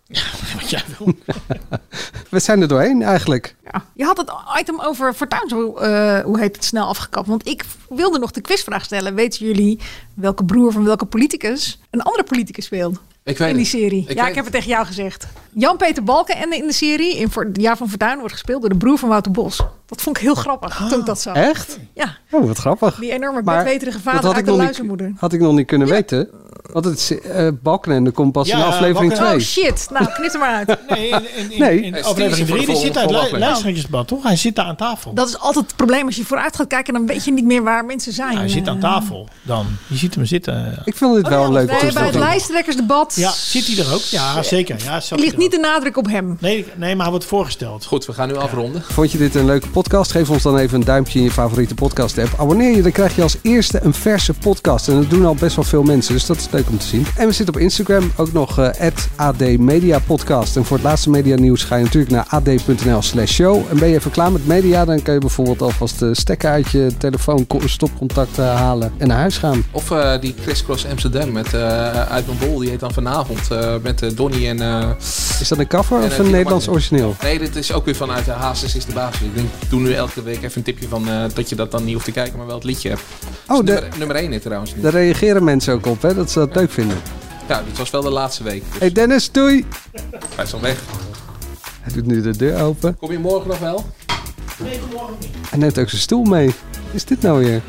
B: Wat jij wil.
C: We zijn er doorheen eigenlijk.
A: Ja. Je had het item over Fortuyn, zo, eh, hoe heet het, snel afgekapt. Want ik wilde nog de quizvraag stellen. Weten jullie welke broer van welke politicus een andere politicus speelt
D: Ik weet
A: in die
D: het.
A: serie?
D: Ik
A: ja, ik
D: weet
A: heb het
D: het.
A: tegen jou gezegd. Jan-Peter Balkenende in de serie, in voor, het jaar van Fortuyn, wordt gespeeld door de broer van Wouter Bos. Dat vond ik heel grappig toen ik dat zag.
C: Echt?
A: Ja,
C: Oh, wat grappig.
A: die enorme
C: Ah. Maar
A: bedweterige
C: dat
A: vader
C: had
A: uit
C: ik,
A: de
C: nog niet,
A: luizenmoeder.
C: had ik nog niet kunnen weten. Want het uh, Balkenende komt pas
B: Ja,
C: in aflevering
B: Balkenende.
A: Oh
C: 2.
A: shit, nou knip er maar uit.
B: Nee, in, in, in,
C: Nee.
B: in
C: Hij
D: is
B: aflevering
D: voor de
B: 3 die zit
D: volgende
B: uit lu-
D: aflevering.
B: luisteraarsbad, toch? Hij zit daar aan tafel.
A: Dat is altijd het probleem als je vooruit gaat kijken, dan weet je niet meer waar mensen zijn.
B: hij zit aan
A: Eh,
B: tafel dan. Je ziet hem zitten.
C: Ik vind dit wel een leuke
A: Bij, bij het
C: toestand.
A: lijsttrekkersdebat
B: Ja, zit hij er ook? Ja, zeker. Ja, zat hij
A: ligt
B: er
A: niet
B: ook.
A: de nadruk op hem.
B: Nee, nee, maar hij wordt voorgesteld.
D: Goed, we gaan nu afronden.
C: Vond je dit een leuke podcast? Geef ons dan even een duimpje in je favoriete podcast app. Abonneer je, dan krijg je als eerste een verse podcast. En dat doen al best wel veel mensen, dus dat is leuk om te zien. En we zitten op Instagram ook nog eh @admediapodcast. En voor het laatste medianieuws ga je natuurlijk naar ad.nl slash show. En ben je even klaar met media, dan kan je bijvoorbeeld alvast de stekker uit je telefoon ko- stopcontact eh, halen en naar huis gaan.
D: Of eh, die crisscross Amsterdam met eh, Uit mijn Bol. Die heet dan vanavond eh, met eh, Donny en... eh,
C: Is dat een cover
D: En,
C: of
D: eh,
C: een
D: die
C: Nederlands
D: mag je.
C: origineel?
D: nee, dit is ook weer vanuit de Hazes is de baas. Ik denk, doe nu elke week even een tipje van eh, dat je dat dan niet hoeft te kijken, maar wel het liedje hebt.
C: Oh,
D: Dus
C: de-
D: nummer, nummer 1 is trouwens.
C: Daar reageren mensen ook op, hè, dat ze dat leuk vinden.
D: Ja, dit was wel de laatste week. Dus
C: Hey Dennis, doei!
D: hij is al weg.
C: Hij doet nu de deur open.
D: Kom je morgen nog wel?
C: Hij neemt ook zijn stoel mee. Is dit nou weer?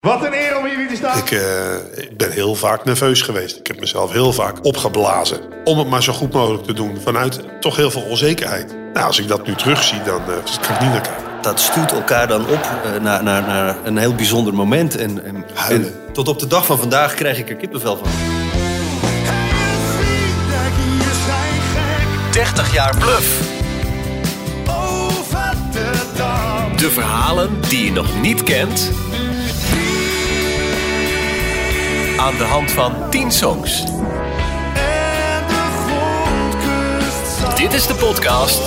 Q: Wat een eer om hier weer te staan. Ik, eh, ik ben heel vaak nerveus geweest. Ik heb mezelf heel vaak opgeblazen. Om het maar zo goed mogelijk te doen. Vanuit toch heel veel onzekerheid. Nou, als ik dat nu terugzie, dan eh, kan ik niet naar kijken.
L: dat stuurt elkaar dan op eh, naar, naar, naar een heel bijzonder moment. En, en, en tot op de dag van vandaag krijg ik er kippenvel van.
D: 30 jaar bluff. De verhalen die je nog niet kent. Aan de hand van 10 songs. Dit is de podcast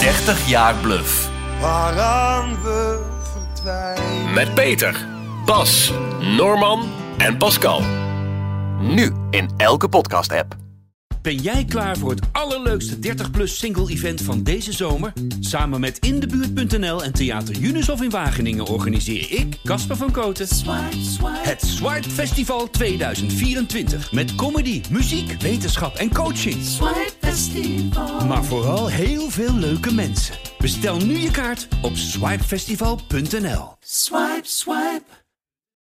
D: 30 jaar bluff.
N: Waaraan we verdwijnen.
D: Met Peter, Bas, Norman en Pascal. Nu in elke podcast-app.
R: Ben jij klaar voor het allerleukste 30-plus single-event van deze zomer? Samen met Indebuurt.nl en Theater Junushof in Wageningen organiseer ik, Casper van Koten, het Zwart Festival 2024. Met comedy, muziek, wetenschap en coaching. Maar vooral heel veel leuke mensen. Bestel nu je kaart op swipefestival.nl.
P: Swipe, swipe.